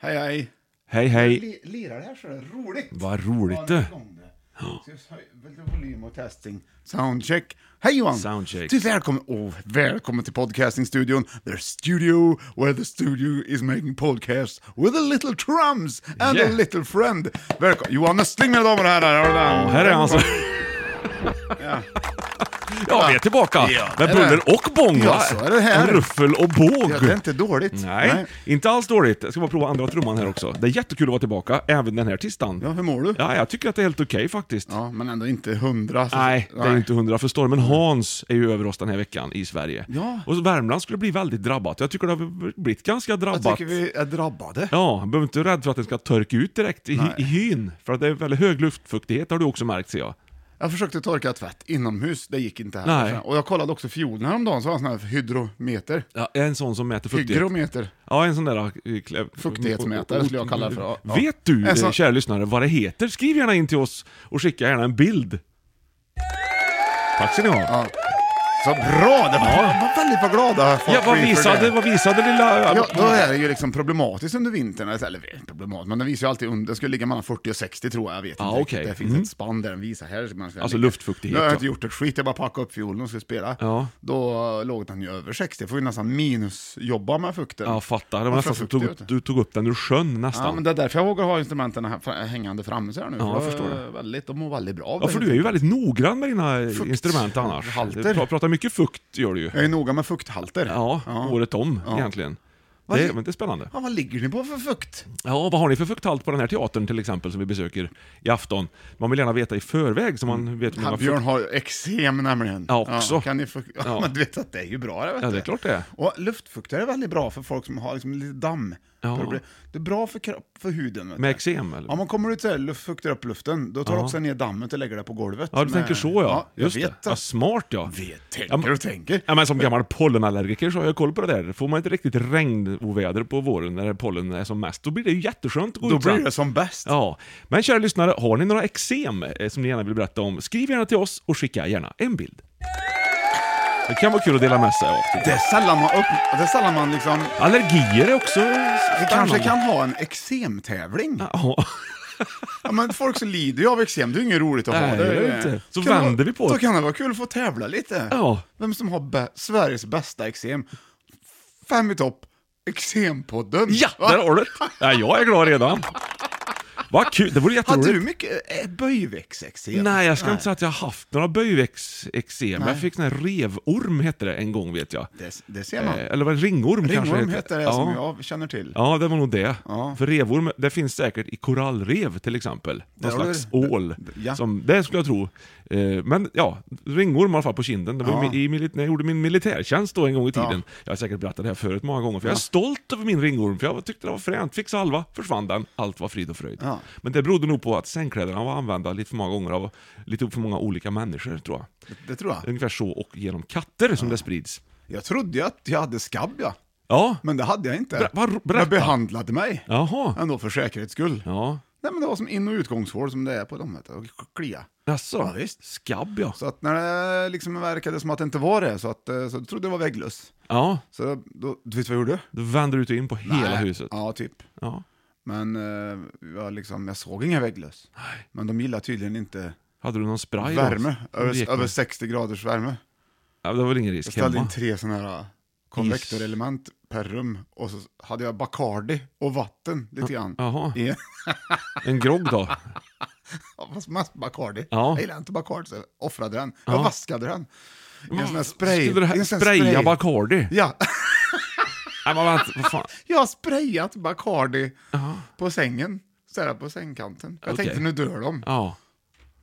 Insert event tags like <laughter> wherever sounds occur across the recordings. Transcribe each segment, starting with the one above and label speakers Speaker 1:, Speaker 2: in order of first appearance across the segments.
Speaker 1: Hej hej!
Speaker 2: Hej hej!
Speaker 1: Li- Lirar här så det är roligt.
Speaker 2: Vad roligt, du.
Speaker 1: Ja, nu kom det. Ska vi höja lite volym och testing. Soundcheck. Hej Johan!
Speaker 2: Soundcheck.
Speaker 1: Du, välkommen, oh, välkommen till podcastingstudion. The studio where the studio is making podcasts with a little drums and
Speaker 2: Yeah.
Speaker 1: a little friend. Välkommen. Johan Östling mina damer och herrar. Har du den?
Speaker 2: Här
Speaker 1: <laughs>
Speaker 2: är han som... Ja, vi är tillbaka med buller och bång.
Speaker 1: Ja,
Speaker 2: va?
Speaker 1: så är det här.
Speaker 2: Och ruffel och båg.
Speaker 1: Ja, det är inte dåligt.
Speaker 2: Nej, inte alls dåligt. Jag ska bara prova andra trumman här också. Det är jättekul att vara tillbaka, även den här tisdagen.
Speaker 1: Ja, hur mår du?
Speaker 2: Ja, jag tycker att det är helt okej faktiskt.
Speaker 1: Ja, men ändå inte hundra. så-
Speaker 2: Nej, det är inte hundra, för stormen Hans är ju över oss den här veckan i Sverige.
Speaker 1: Ja.
Speaker 2: Och så Värmland skulle bli väldigt drabbat. Jag tycker det har blivit ganska
Speaker 1: Jag
Speaker 2: drabbat.
Speaker 1: tycker vi är drabbade.
Speaker 2: Ja, behöver inte vara rädd för att den ska torka ut direkt i, i hyn. För att det är väldigt hög luftfuktighet har du också märkt ser jag.
Speaker 1: Jag försökte torka tvätt inomhus, det gick inte heller.
Speaker 2: Nej.
Speaker 1: Och jag kollade också fiolen häromdagen, så var det en sån här hydrometer.
Speaker 2: Ja, en sån som mäter fuktighet.
Speaker 1: Hygrometer.
Speaker 2: Ja, en sån där... eh, klä-
Speaker 1: Fuktighetsmätare skulle jag kalla det för, ja. Ja.
Speaker 2: Vet du,
Speaker 1: En sån-
Speaker 2: eh, kära lyssnare, vad det heter? Skriv gärna in till oss och skicka gärna en bild. Tack ska ni ha. Ja,
Speaker 1: Så bra! Det var, var väldigt vad glada folk
Speaker 2: vad,
Speaker 1: blir för
Speaker 2: visade,
Speaker 1: det.
Speaker 2: vad visade lilla...
Speaker 1: Ja, då är det ju liksom problematiskt under vintern, eller eh, problematiskt, men den visar ju alltid under, det skulle ligga mellan 40 och 60 tror jag, jag vet
Speaker 2: Ja,
Speaker 1: inte riktigt.
Speaker 2: okej.
Speaker 1: Det finns
Speaker 2: Mm.
Speaker 1: ett spann där den visar här. Man ska
Speaker 2: Alltså
Speaker 1: ligga.
Speaker 2: luftfuktighet
Speaker 1: Nu har jag
Speaker 2: då.
Speaker 1: inte gjort ett skit, jag bara packade upp fiolen och skulle spela.
Speaker 2: Ja.
Speaker 1: Då låg den ju över 60, får ju nästan minusjobba med fukten.
Speaker 2: Ja, fattar. Det var
Speaker 1: Man får
Speaker 2: nästan som
Speaker 1: fuktighet,
Speaker 2: tog,
Speaker 1: vet du.
Speaker 2: du tog upp den ur sjön nästan.
Speaker 1: Ja, men det är därför jag vågar ha instrumenten här, fra- hängande framme så här nu.
Speaker 2: Ja, jag
Speaker 1: för
Speaker 2: förstår
Speaker 1: är
Speaker 2: det.
Speaker 1: Väldigt, de mår väldigt bra. av
Speaker 2: Ja,
Speaker 1: det.
Speaker 2: för du är ju väldigt noggrann med dina
Speaker 1: Fukt.
Speaker 2: instrument annars.
Speaker 1: Halter.
Speaker 2: Du pra- pratar mycket fukt, gör du ju.
Speaker 1: Jag är noga med fukthalter.
Speaker 2: Ja, året om
Speaker 1: Ja.
Speaker 2: egentligen.
Speaker 1: Vad-
Speaker 2: Det, men det är spännande.
Speaker 1: Ja, vad ligger ni på för fukt?
Speaker 2: Ja, vad har ni för fukthalt på den här teatern till exempel som vi besöker i afton? Man vill gärna veta i förväg så man vet hur
Speaker 1: Mm. Han,
Speaker 2: många
Speaker 1: Björn
Speaker 2: fukt...
Speaker 1: har eksem nämligen.
Speaker 2: Ja, också.
Speaker 1: kan ni fukt... <laughs> ja.
Speaker 2: Ja.
Speaker 1: men du vet att det är ju bra det vet
Speaker 2: Ja, det
Speaker 1: du.
Speaker 2: är klart det är.
Speaker 1: Och luftfuktare är väldigt bra för folk som har liksom lite damm.
Speaker 2: Ja.
Speaker 1: Problem. Det är bra för, kropp, för huden. Vet
Speaker 2: Med
Speaker 1: du.
Speaker 2: eksem eller?
Speaker 1: Ja, man kommer ut så här, luft- fuktar upp luften, då tar du
Speaker 2: Ja.
Speaker 1: också ner dammet och lägger det på golvet.
Speaker 2: Ja, du
Speaker 1: Men-
Speaker 2: tänker så ja.
Speaker 1: jag
Speaker 2: Just det.
Speaker 1: vet
Speaker 2: Ja, smart ja.
Speaker 1: Vet,
Speaker 2: Ja,
Speaker 1: tänker
Speaker 2: men-
Speaker 1: och tänker.
Speaker 2: Ja, men som gammal pollenallergiker så har jag koll på det där. Får man ett riktigt regnoväder på våren när pollen är som mest, då blir det ju jätteskönt att gå
Speaker 1: Då
Speaker 2: ut sen.
Speaker 1: blir det som bäst.
Speaker 2: Ja. Men kära lyssnare, har ni några eksem eh, som ni gärna vill berätta om, skriv gärna till oss och skicka gärna en bild. Det kan vara kul att dela med sig av. tycker
Speaker 1: Det
Speaker 2: jag.
Speaker 1: är sällan man, upp... det är sällan man liksom...
Speaker 2: Allergier är också
Speaker 1: Vi kanske
Speaker 2: spännande.
Speaker 1: kan ha en eksemtävling.
Speaker 2: Ja.
Speaker 1: Ja, men folk som lider ju av eksem, det är ju inget roligt att ha.
Speaker 2: Nej, det är det inte. Så vänder vi på
Speaker 1: det. Då
Speaker 2: det.
Speaker 1: kan det vara kul att få tävla lite.
Speaker 2: Ja.
Speaker 1: Vem som har bä- Sveriges bästa eksem. Fem i topp, eksempodden.
Speaker 2: Ja,
Speaker 1: Va?
Speaker 2: där har du det. Ja, jag är glad redan. Vad kul, det vore
Speaker 1: Hade du
Speaker 2: jätteroligt.
Speaker 1: mycket eh, böjväxteksem?
Speaker 2: Nej, jag ska inte säga att jag har haft några böjväxteksem. Jag fick sån här revorm hette det en gång vet jag.
Speaker 1: Det, det ser man.
Speaker 2: Eh, Eller var det ringorm, kanske?
Speaker 1: Ringorm heter det
Speaker 2: ja.
Speaker 1: som jag känner till.
Speaker 2: Ja, det var nog det.
Speaker 1: Ja.
Speaker 2: För revorm, det finns säkert i korallrev till exempel. Någon
Speaker 1: har du
Speaker 2: slags
Speaker 1: det.
Speaker 2: ål.
Speaker 1: Ja.
Speaker 2: Som, det skulle jag tro. Eh, Men ja, ringorm i alla fall på kinden. Det var ju i, mili- när jag gjorde min militärtjänst då en gång i tiden. Jag har säkert berättat det här förut många gånger, för jag är stolt över min ringorm, för jag tyckte det var fränt. Fick salva, försvann den, allt var frid och fröjd.
Speaker 1: Ja.
Speaker 2: Men det berodde nog på att sängkläderna var använda lite för många gånger av lite för många olika människor, tror jag.
Speaker 1: Det tror jag.
Speaker 2: Ungefär så, och genom katter som det sprids.
Speaker 1: Jag trodde ju att jag hade skabb, ja.
Speaker 2: Ja.
Speaker 1: Men det hade jag inte.
Speaker 2: Ber- vad- berätta.
Speaker 1: jag behandlade mig.
Speaker 2: Jaha.
Speaker 1: Ändå för säkerhets skull.
Speaker 2: Ja.
Speaker 1: Nej men det var som in och utgångshål som det är på dem vet du, och klia.
Speaker 2: Jaså?
Speaker 1: Ja, visst.
Speaker 2: Skabb ja.
Speaker 1: Så att när det liksom verkade som att det inte var det, så, att, eh, så trodde jag det var vägglöss.
Speaker 2: Ja.
Speaker 1: Så då, du vet vad jag gjorde?
Speaker 2: Du vänder ut och in på hela
Speaker 1: Nej.
Speaker 2: huset.
Speaker 1: Ja, typ.
Speaker 2: Ja.
Speaker 1: Men eh, jag, liksom, jag såg inga vägglöss. Men de gillar tydligen inte
Speaker 2: Hade du någon spray? då?
Speaker 1: värme,
Speaker 2: Som du gick
Speaker 1: över,
Speaker 2: med?
Speaker 1: över 60 graders värme.
Speaker 2: Ja, det var väl ingen risk
Speaker 1: Jag ställde in
Speaker 2: hemma?
Speaker 1: tre sådana här eh, konvektorelement per rum och så hade jag Bacardi och vatten lite grann.
Speaker 2: Jaha.
Speaker 1: I-
Speaker 2: En grogg då?
Speaker 1: <laughs> Ja, fast mest Bacardi.
Speaker 2: Ja.
Speaker 1: Jag gillar inte Bacardi, så jag offrade den. Jag vaskade den. I en sån här spray.
Speaker 2: Skulle du
Speaker 1: i
Speaker 2: här
Speaker 1: en sån här
Speaker 2: spraya Bacardi?
Speaker 1: Ja,
Speaker 2: Nej men vänta, vad fan.
Speaker 1: jag har sprayat Bacardi på sängen. Så här på sängkanten. Jag
Speaker 2: Okej.
Speaker 1: tänkte nu dör de.
Speaker 2: Ja.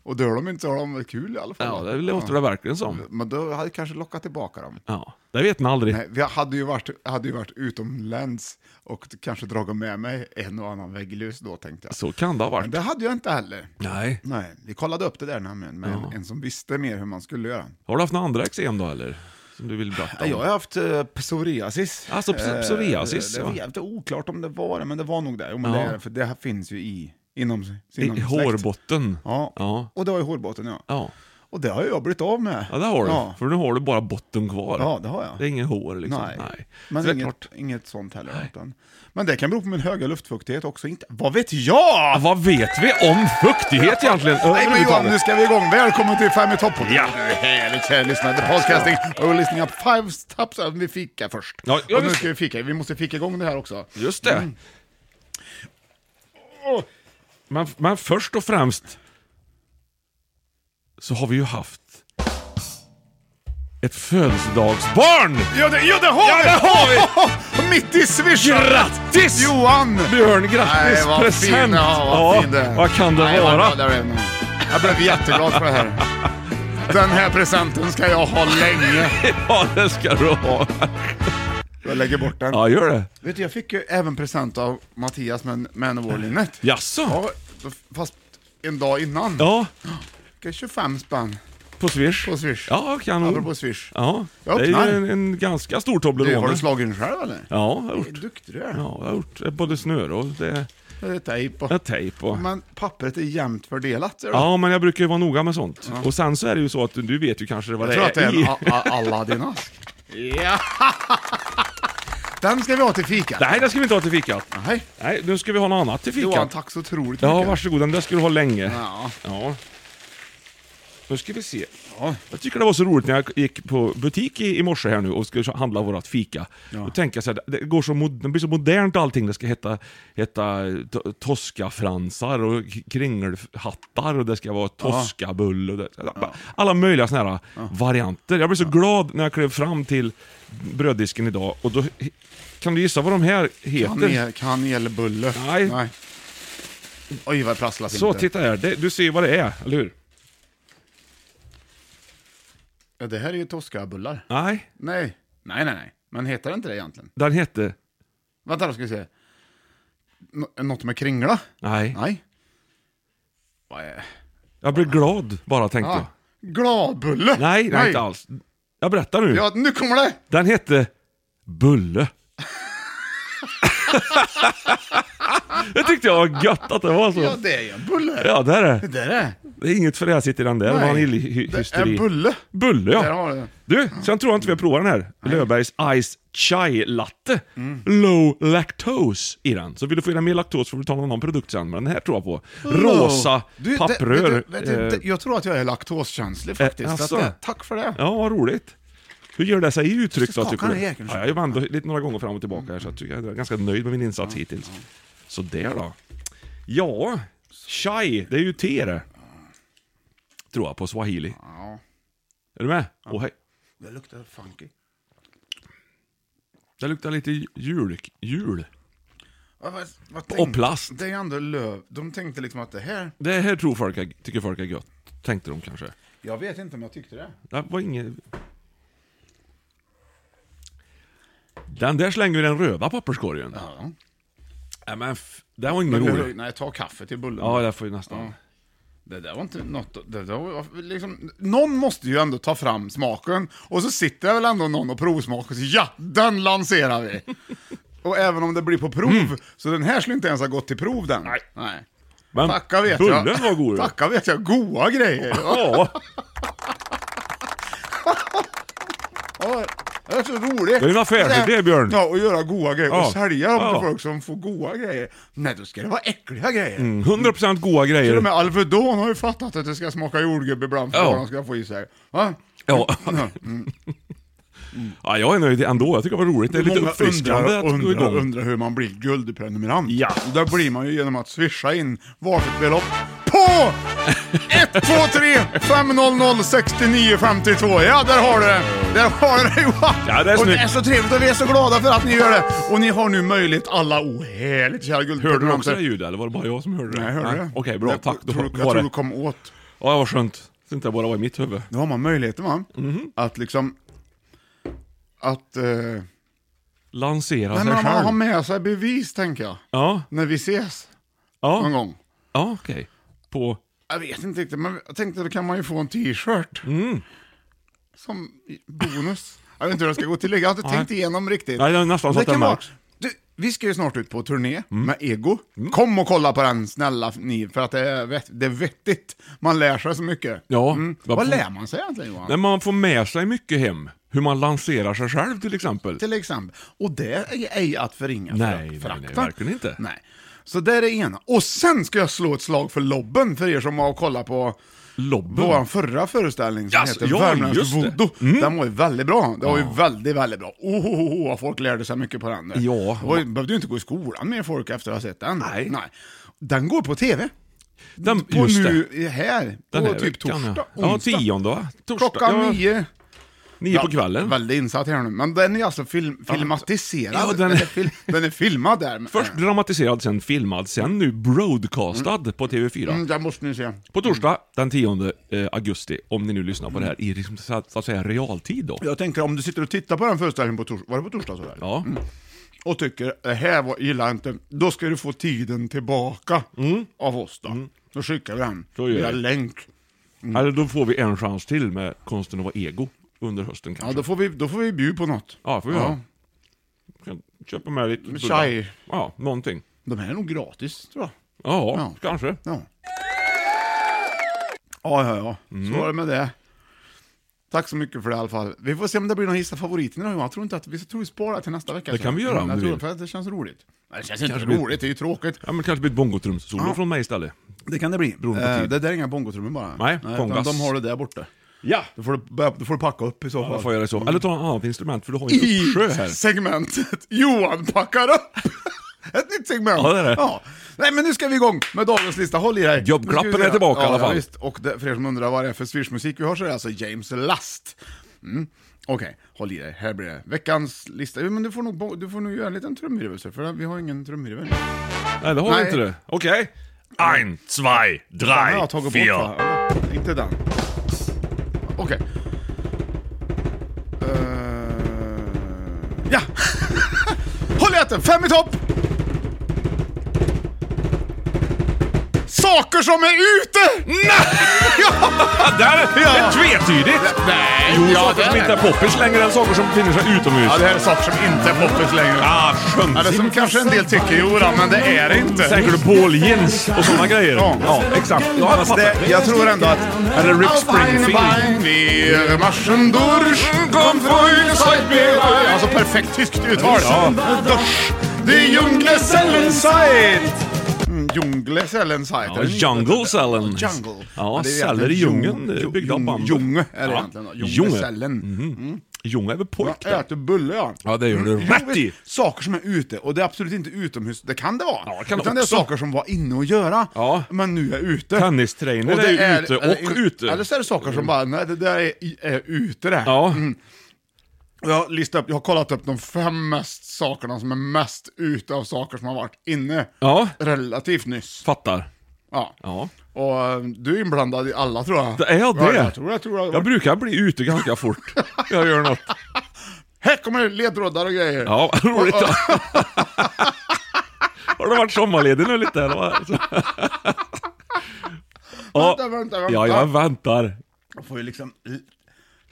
Speaker 1: Och dör de inte så har de väl kul i alla fall.
Speaker 2: ja, det låter det verkligen som.
Speaker 1: Men då hade jag kanske lockat tillbaka dem.
Speaker 2: Ja, det vet man aldrig.
Speaker 1: Nej, vi hade ju varit, hade ju varit utomlands och kanske dragit med mig en och annan vägglus då tänkte jag.
Speaker 2: Så kan det ha
Speaker 1: Men
Speaker 2: varit.
Speaker 1: det hade jag inte heller.
Speaker 2: Nej.
Speaker 1: Nej, vi kollade upp det där nämligen med en, en som visste mer hur man skulle göra.
Speaker 2: Har du haft några andra eksem då eller? Som du vill berätta
Speaker 1: Ja,
Speaker 2: om?
Speaker 1: jag har haft eh, psoriasis.
Speaker 2: Alltså, ps-
Speaker 1: Eh,
Speaker 2: psoriasis,
Speaker 1: Det, det
Speaker 2: ja.
Speaker 1: var jävligt oklart om det var det, men det var nog det. Jo, men
Speaker 2: Ja.
Speaker 1: det, är, det, för det här finns ju i, inom, inom
Speaker 2: I
Speaker 1: släkt.
Speaker 2: hårbotten?
Speaker 1: Ja.
Speaker 2: Ja.
Speaker 1: och det var i hårbotten ja.
Speaker 2: Ja,
Speaker 1: Och det har jag blivit av med.
Speaker 2: ja det har du.
Speaker 1: Ja,
Speaker 2: För nu har du bara botten kvar.
Speaker 1: ja det har jag.
Speaker 2: Det är inget hår liksom. Nej.
Speaker 1: Men
Speaker 2: Så det är
Speaker 1: inget,
Speaker 2: klart.
Speaker 1: inget sånt heller. Utan. Men det kan bero på min höga luftfuktighet också. Inte, vad vet jag?
Speaker 2: Ja, vad vet vi om fuktighet egentligen?
Speaker 1: Nej men Johan, nu ska vi igång. Välkommen till Fem i topp
Speaker 2: Ja.
Speaker 1: Härligt kära lyssnare. The podcasting och listening up five stops. Vi fika först.
Speaker 2: Ja, ja,
Speaker 1: och nu
Speaker 2: just-
Speaker 1: ska vi fika. Vi måste fika igång det här också.
Speaker 2: Just det. Men, men först och främst så har vi ju haft ett födelsedagsbarn!
Speaker 1: Ja det, ja, det har
Speaker 2: Ja,
Speaker 1: vi!
Speaker 2: det har
Speaker 1: Mitt i swishen!
Speaker 2: Grattis!
Speaker 1: Johan!
Speaker 2: Björn,
Speaker 1: Nej,
Speaker 2: grattis!
Speaker 1: vad
Speaker 2: Present!
Speaker 1: Fin, ja, vad fin det är.
Speaker 2: vad kan det
Speaker 1: Nej, vad
Speaker 2: vara?
Speaker 1: glad Jag blev. Jag blev jätteglad för det här. Den här presenten ska jag ha länge.
Speaker 2: <laughs> Ja, det ska du ha.
Speaker 1: Jag lägger bort den.
Speaker 2: Ja, gör det.
Speaker 1: Vet du, jag fick ju även present av Mattias men Manowar-linnet.
Speaker 2: Jaså?
Speaker 1: Ja, då- fast en dag innan.
Speaker 2: Ja,
Speaker 1: Fick jag 25 spänn
Speaker 2: på Swish.
Speaker 1: på Swish.
Speaker 2: Ja, kanon.
Speaker 1: Apropå Swish.
Speaker 2: Mm. Ja, det
Speaker 1: Jag
Speaker 2: är ju
Speaker 1: öppnar.
Speaker 2: en, en ganska stor
Speaker 1: Du,
Speaker 2: Toblerone.
Speaker 1: har du slagit den själv eller?
Speaker 2: Ja, jag har gjort.
Speaker 1: Duktig du är.
Speaker 2: Ja, jag har gjort både snöre och det
Speaker 1: Det är tejp och...
Speaker 2: är tejp och...
Speaker 1: Men pappret är jämnt fördelat. ser du.
Speaker 2: Ja, men jag brukar ju vara noga med sånt. Och sen så är det ju så att du vet ju kanske vad
Speaker 1: Jag
Speaker 2: det
Speaker 1: tror att det är
Speaker 2: är i.
Speaker 1: en A- A- Aladdin-ask. Ja! <laughs> Den ska vi ha till fika.
Speaker 2: <laughs> Nej, det ska vi inte ha till fikat.
Speaker 1: Nej.
Speaker 2: Nej, nu ska vi ha något annat till fikat.
Speaker 1: Johan, tack så otroligt
Speaker 2: Ja,
Speaker 1: mycket.
Speaker 2: varsågod. Den där ska du ha länge.
Speaker 1: Ja.
Speaker 2: Ja. Nu ska vi se.
Speaker 1: Ja.
Speaker 2: Jag tycker det var så roligt när jag gick på butik i, i morse här nu och skulle handla vårat fika. Då tänkte jag så här, det, går så mod, det blir så modernt allting. Det ska heta, heta to- Toskafransar och k- kringelhattar och det ska vara Toskabull och det, alla möjliga såna här varianter. Jag blev så glad när jag klev fram till bröddisken idag och då kan du gissa vad de här heter?
Speaker 1: Kanel- Kanelbulle.
Speaker 2: Nej.
Speaker 1: Oj, vad det prasslas
Speaker 2: Så,
Speaker 1: inte.
Speaker 2: titta här. Det, du ser ju vad det är, eller hur?
Speaker 1: Ja, det här är ju Toscabullar.
Speaker 2: Nej,
Speaker 1: Nej. Nej, nej, nej. Men heter det inte det egentligen?
Speaker 2: den hette...
Speaker 1: Vänta, då ska vi se. Nå- något med kringla?
Speaker 2: Nej.
Speaker 1: Nej. Vad är...
Speaker 2: Jag blev glad bara, tänkte jag.
Speaker 1: Ja. Gladbulle?
Speaker 2: Ah, Nej, nej, inte alls. Jag berättar nu.
Speaker 1: Ja, nu kommer det!
Speaker 2: Den hette
Speaker 1: <laughs>
Speaker 2: Bulle. det tyckte jag var gött att det var så.
Speaker 1: Ja, det är ju en bulle.
Speaker 2: Ja, där
Speaker 1: Det
Speaker 2: är det.
Speaker 1: där är...
Speaker 2: Det är inget fräsigt i den där
Speaker 1: Nej. Det är
Speaker 2: vanilj-hysteri.
Speaker 1: en bulle.
Speaker 2: Bulle,
Speaker 1: Där
Speaker 2: ja.
Speaker 1: har du.
Speaker 2: Du, sen tror jag inte vi har provat den här. Löfbergs Ice Chai Latte.
Speaker 1: Mm.
Speaker 2: Low lactose i den. Så vill du få i dig mer laktos får du ta någon annan produkt sen. Men den här tror jag på. Rosa
Speaker 1: Du, det-
Speaker 2: papprör.
Speaker 1: vet du- vet du,
Speaker 2: eh,
Speaker 1: det- Jag tror att jag är laktoskänslig faktiskt.
Speaker 2: eh,
Speaker 1: Så att
Speaker 2: asså.
Speaker 1: det- tack för det.
Speaker 2: Ja, vad roligt. Hur gör det sig i uttryck då,
Speaker 1: Skakar
Speaker 2: tycker
Speaker 1: den
Speaker 2: du?
Speaker 1: jäkeln.
Speaker 2: Ja, jag har vandrat lite några gånger fram och tillbaka här, så jag tycker jag är ganska nöjd med min insats hittills. Så där då. Ja, chai, det är ju te det. Tror jag, på swahili. Är du med? Åh, hej.
Speaker 1: Det luktar funky.
Speaker 2: Det luktar lite jul. jul.
Speaker 1: Vad, vad, vad
Speaker 2: Och
Speaker 1: tänk-
Speaker 2: plast.
Speaker 1: Det är ändå löv. De tänkte liksom att det här...
Speaker 2: Det här tror folk är, tycker folk är gött. Tänkte de kanske.
Speaker 1: Jag vet inte om jag tyckte det.
Speaker 2: Det var inget... Den där slänger vi i den röda papperskorgen.
Speaker 1: Ja.
Speaker 2: Nej men, f- det var ingen
Speaker 1: Men
Speaker 2: rolig.
Speaker 1: hur, nej, ta kaffe till bullen.
Speaker 2: Ja, det får ju nästan.
Speaker 1: Det där var inte något... Det där var liksom, någon måste ju ändå ta fram smaken, och så sitter det väl ändå någon och provsmakar och säger ja, den lanserar vi! och även om det blir på prov,
Speaker 2: Mm.
Speaker 1: så den här skulle inte ens ha gått till prov den. Nej.
Speaker 2: Men
Speaker 1: Tacka vet
Speaker 2: bullen
Speaker 1: jag.
Speaker 2: var god.
Speaker 1: Tacka vet jag, goa grejer.
Speaker 2: Ja,
Speaker 1: Ja, det är så roligt.
Speaker 2: Det är en affärsidé, Björn.
Speaker 1: Ja, och göra goa grejer.
Speaker 2: Ja.
Speaker 1: Och sälja dem
Speaker 2: Ja.
Speaker 1: till folk som får goa grejer. Nej, då ska det vara äckliga grejer.
Speaker 2: Mm. 100% goa
Speaker 1: Till och
Speaker 2: grejer.
Speaker 1: med Alvedon har ju fattat att det ska smaka jordgubbe ibland för
Speaker 2: Ja.
Speaker 1: vad de ska få i sig. Va?
Speaker 2: <laughs> Ja. ja, jag är nöjd ändå. Jag tycker det var roligt. Det är lite
Speaker 1: Många
Speaker 2: uppfriskande
Speaker 1: undrar,
Speaker 2: att gå
Speaker 1: undrar,
Speaker 2: igång.
Speaker 1: undrar hur man blir guldprenumerant.
Speaker 2: Ja.
Speaker 1: Och Där blir man ju genom att swisha in varsitt belopp på 123 500 6952. Ja, där har du det! Där har du det Johan!
Speaker 2: Ja, det är
Speaker 1: och det
Speaker 2: snyggt.
Speaker 1: är så trevligt och vi är så glada för att ni gör det! Och ni har nu möjlighet alla, oh härligt kära
Speaker 2: Hörde du
Speaker 1: guldprenumeranter.
Speaker 2: också det ljudet, eller var det bara jag som hörde det?
Speaker 1: Nej, hörde du det?
Speaker 2: Okej, bra.
Speaker 1: Jag
Speaker 2: Tack. Då
Speaker 1: tror- Jag
Speaker 2: var
Speaker 1: tror
Speaker 2: det.
Speaker 1: du kom åt.
Speaker 2: Ja, vad skönt. Det inte bara var i mitt huvud.
Speaker 1: Då har man möjligheten va?
Speaker 2: Mhm.
Speaker 1: Att liksom... Att... Eh, nej,
Speaker 2: Lansera sig
Speaker 1: men man har
Speaker 2: själv.
Speaker 1: med sig bevis tänker jag.
Speaker 2: Ja,
Speaker 1: När vi ses någon
Speaker 2: ja,
Speaker 1: gång.
Speaker 2: ja okej. På...
Speaker 1: Jag vet inte riktigt, men jag tänkte då kan man ju få en t-shirt.
Speaker 2: Mm.
Speaker 1: Som bonus. Jag vet inte hur det ska gå till. Jag har inte tänkt igenom riktigt.
Speaker 2: Nej, det är nästan så
Speaker 1: Det
Speaker 2: att den
Speaker 1: kan vara-
Speaker 2: märks.
Speaker 1: Du, vi ska ju snart ut på turné
Speaker 2: Mm.
Speaker 1: med Ego. Kom och kolla på den, snälla ni, för att det är, vett, det är vettigt. Man lär sig så mycket. Mm.
Speaker 2: Ja.
Speaker 1: Vad,
Speaker 2: Vad-
Speaker 1: lär man sig egentligen Johan?
Speaker 2: När man får med sig mycket hem. Hur man lanserar sig själv till exempel.
Speaker 1: Till exempel. Och det är ej att förringa
Speaker 2: Nej,
Speaker 1: frakt-
Speaker 2: nej, nej,
Speaker 1: frakten.
Speaker 2: verkligen inte.
Speaker 1: Nej. Så det är det ena. Och sen ska jag slå ett slag för lobben för er som har kollat på
Speaker 2: Lobben.
Speaker 1: Vår förra föreställning som
Speaker 2: Jaså,
Speaker 1: heter
Speaker 2: ja,
Speaker 1: Värmländsk
Speaker 2: just det. Mm.
Speaker 1: voodoo, den var ju väldigt bra. Det var ju väldigt, väldigt bra. Oh, oh, oh, vad folk lärde sig mycket på den. där.
Speaker 2: Ja.
Speaker 1: Det var ju, behövde ju inte gå i skolan med folk efter att ha sett den.
Speaker 2: Nej.
Speaker 1: Den går på tv.
Speaker 2: Den,
Speaker 1: På
Speaker 2: just det.
Speaker 1: nu här,
Speaker 2: Den
Speaker 1: på
Speaker 2: här
Speaker 1: typ
Speaker 2: veckan, ja.
Speaker 1: torsdag,
Speaker 2: Ja,
Speaker 1: onsdag.
Speaker 2: tionde va? Torsdag.
Speaker 1: Klockan
Speaker 2: ja,
Speaker 1: nio.
Speaker 2: Nio på kvällen.
Speaker 1: Väldigt insatt här nu. Men den är alltså film, filmatiserad.
Speaker 2: Ja, den
Speaker 1: den,
Speaker 2: är-
Speaker 1: är <laughs> fil, den är filmad där. Men-
Speaker 2: Först dramatiserad, sen filmad, sen nu broadcastad på TV4.
Speaker 1: Mm, den måste ni se.
Speaker 2: På torsdag den 10 eh, augusti, om ni nu lyssnar på det här i
Speaker 1: Mm.
Speaker 2: liksom, så att så att säga realtid då.
Speaker 1: Jag tänker om du sitter och tittar på den föreställningen på torsdag, var det på torsdag? Sådär?
Speaker 2: Ja.
Speaker 1: och tycker det här var, gillar jag inte, då ska du få tiden tillbaka av oss då. Då skickar vi den
Speaker 2: Mm. Så gör
Speaker 1: via
Speaker 2: vi.
Speaker 1: länk. Mm.
Speaker 2: Eller då får vi en chans till med konsten att vara ego under hösten
Speaker 1: Ja,
Speaker 2: kanske.
Speaker 1: då får vi, då får vi bjuda på något.
Speaker 2: Ja, får vi
Speaker 1: Ja.
Speaker 2: göra. Kan köpa med lite... bullar.
Speaker 1: Chai.
Speaker 2: Ja, någonting.
Speaker 1: De här är nog gratis, tror jag.
Speaker 2: Ja,
Speaker 1: Ja.
Speaker 2: kanske.
Speaker 1: Ja, ja, ja. ja.
Speaker 2: Mm.
Speaker 1: Så var det med det. Tack så mycket för det i alla fall. Vi får se om det blir någon gissa favoriten idag. Jag tror inte att vi, jag tror vi sparar till nästa vecka.
Speaker 2: Det kan vi göra om
Speaker 1: jag
Speaker 2: du
Speaker 1: tror,
Speaker 2: vill.
Speaker 1: för att Det känns roligt. Nej, Det känns inte roligt, det är ju tråkigt.
Speaker 2: Ja, men kanske blir ett bongotrumssolo från mig istället.
Speaker 1: Det kan det bli.
Speaker 2: Beroende på
Speaker 1: Eh,
Speaker 2: tid.
Speaker 1: det där är inga bongotrummor bara.
Speaker 2: Nej,
Speaker 1: utan
Speaker 2: kongas.
Speaker 1: De har det där borta.
Speaker 2: Ja!
Speaker 1: Då får du, börja- då får du packa upp i så fall. Mm.
Speaker 2: Då får jag göra så. Eller ta ett annat instrument, för du har ju en
Speaker 1: i
Speaker 2: uppsjö här.
Speaker 1: segmentet <laughs> Johan packar upp. <laughs> Ett nytt segment.
Speaker 2: Ja, det är det.
Speaker 1: Nej, men nu ska vi igång med dagens lista. Håll i dig.
Speaker 2: Jobbklappen
Speaker 1: Nu ska vi
Speaker 2: är
Speaker 1: se.
Speaker 2: tillbaka
Speaker 1: ja,
Speaker 2: i alla
Speaker 1: Ja,
Speaker 2: fall.
Speaker 1: visst. Och det, för er som undrar vad det är för swishmusik vi har så är det alltså James Last. Mm. Okej, håll i dig. Här blir det veckans lista. Jo, Men du får nog, bo- du får nog göra en liten trumvirvel, så, för vi har ingen trumvirvel.
Speaker 2: Nej, det har
Speaker 1: Nej.
Speaker 2: vi inte det. Okej. Ein, zwei,
Speaker 1: Den har
Speaker 2: drei,
Speaker 1: jag tagit bort,
Speaker 2: vier.
Speaker 1: va? Eller, Inte den. Okej. Eh, ja! <laughs> Håll i hatten! Fem i topp! Saker som är ute!
Speaker 2: Ja, där! Det
Speaker 1: Ja.
Speaker 2: är tvetydigt!
Speaker 1: Nej,
Speaker 2: Jo,
Speaker 1: ja,
Speaker 2: saker
Speaker 1: det
Speaker 2: som
Speaker 1: är
Speaker 2: inte är poppis längre än saker som befinner sig utomhus.
Speaker 1: Ja, det här är saker som inte är poppis längre.
Speaker 2: Ah, skönt.
Speaker 1: Ja, det som kanske en del tycker, jo då, men det är det inte.
Speaker 2: Tänker du Paul Jens och sådana grejer?
Speaker 1: Ja.
Speaker 2: exakt. Ja, jag
Speaker 1: Fast
Speaker 2: fattar.
Speaker 1: det, jag tror ändå att...
Speaker 2: Eller Rick Springfield.
Speaker 1: Wir marschen durch, komm Freunde, seid bereit. Alltså perfekt tyskt uttal.
Speaker 2: Ja.
Speaker 1: Durch die Jungle Sellenseid. Mm, Jungle Sellenseid.
Speaker 2: Ja, jungle sällen.
Speaker 1: Jungle.
Speaker 2: Ja,
Speaker 1: det är
Speaker 2: celler i
Speaker 1: egentligen
Speaker 2: djungeln,
Speaker 1: jung-
Speaker 2: byggda av
Speaker 1: jung-
Speaker 2: bambu.
Speaker 1: Junge är det
Speaker 2: Ja.
Speaker 1: egentligen. då.
Speaker 2: Junge. Mhm.
Speaker 1: Jungesällen.
Speaker 2: Jonga är väl pojk
Speaker 1: Jag
Speaker 2: där?
Speaker 1: äter bulle ja. Mm.
Speaker 2: Ja, det gör du
Speaker 1: Jo,
Speaker 2: rätt i.
Speaker 1: visst, Saker som är ute, och det är absolut inte utomhus, det kan det vara.
Speaker 2: Ja, det kan det
Speaker 1: Utan
Speaker 2: också.
Speaker 1: det är saker som var inne och göra,
Speaker 2: Ja.
Speaker 1: men nu är ute.
Speaker 2: Tennistrainer är ju ute och
Speaker 1: eller,
Speaker 2: ute.
Speaker 1: Eller så är det saker som bara, nej det där är, i- är ute det. här.
Speaker 2: Ja.
Speaker 1: Och Jag, har listat upp, jag har kollat upp de fem mest sakerna som är mest ute av saker som har varit inne
Speaker 2: Ja.
Speaker 1: relativt nyss.
Speaker 2: Fattar.
Speaker 1: Ja.
Speaker 2: Ja.
Speaker 1: Och eh, du är inblandad i alla tror jag.
Speaker 2: Det är jag
Speaker 1: Ja,
Speaker 2: det?
Speaker 1: jag tror jag tror jag.
Speaker 2: Jag brukar bli ute ganska fort. Jag gör något.
Speaker 1: Här kommer det ledtrådar och grejer.
Speaker 2: Ja, vad roligt. <laughs> Har du varit sommarledig nu lite eller? vad? Ja,
Speaker 1: väntar, väntar.
Speaker 2: Ja, jag väntar.
Speaker 1: Jag får ju liksom l-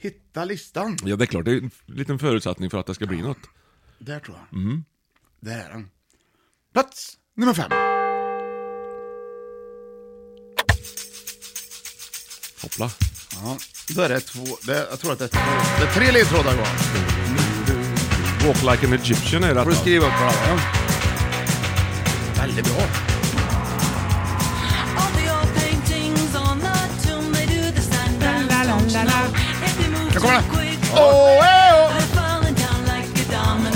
Speaker 1: hitta listan.
Speaker 2: Ja, det är klart. Det är en f- liten förutsättning för att det ska bli något.
Speaker 1: Där tror jag. Där är den. Plats nummer fem.
Speaker 2: Hoppla.
Speaker 1: Ja, då är det två, det, jag tror att det är, två, det är tre ledtrådar kvar.
Speaker 2: Walk like an Egyptian är
Speaker 1: Får du
Speaker 2: detta.
Speaker 1: skriva upp på alla. Väldigt bra. Nu kommer den. Åh, eh, åh.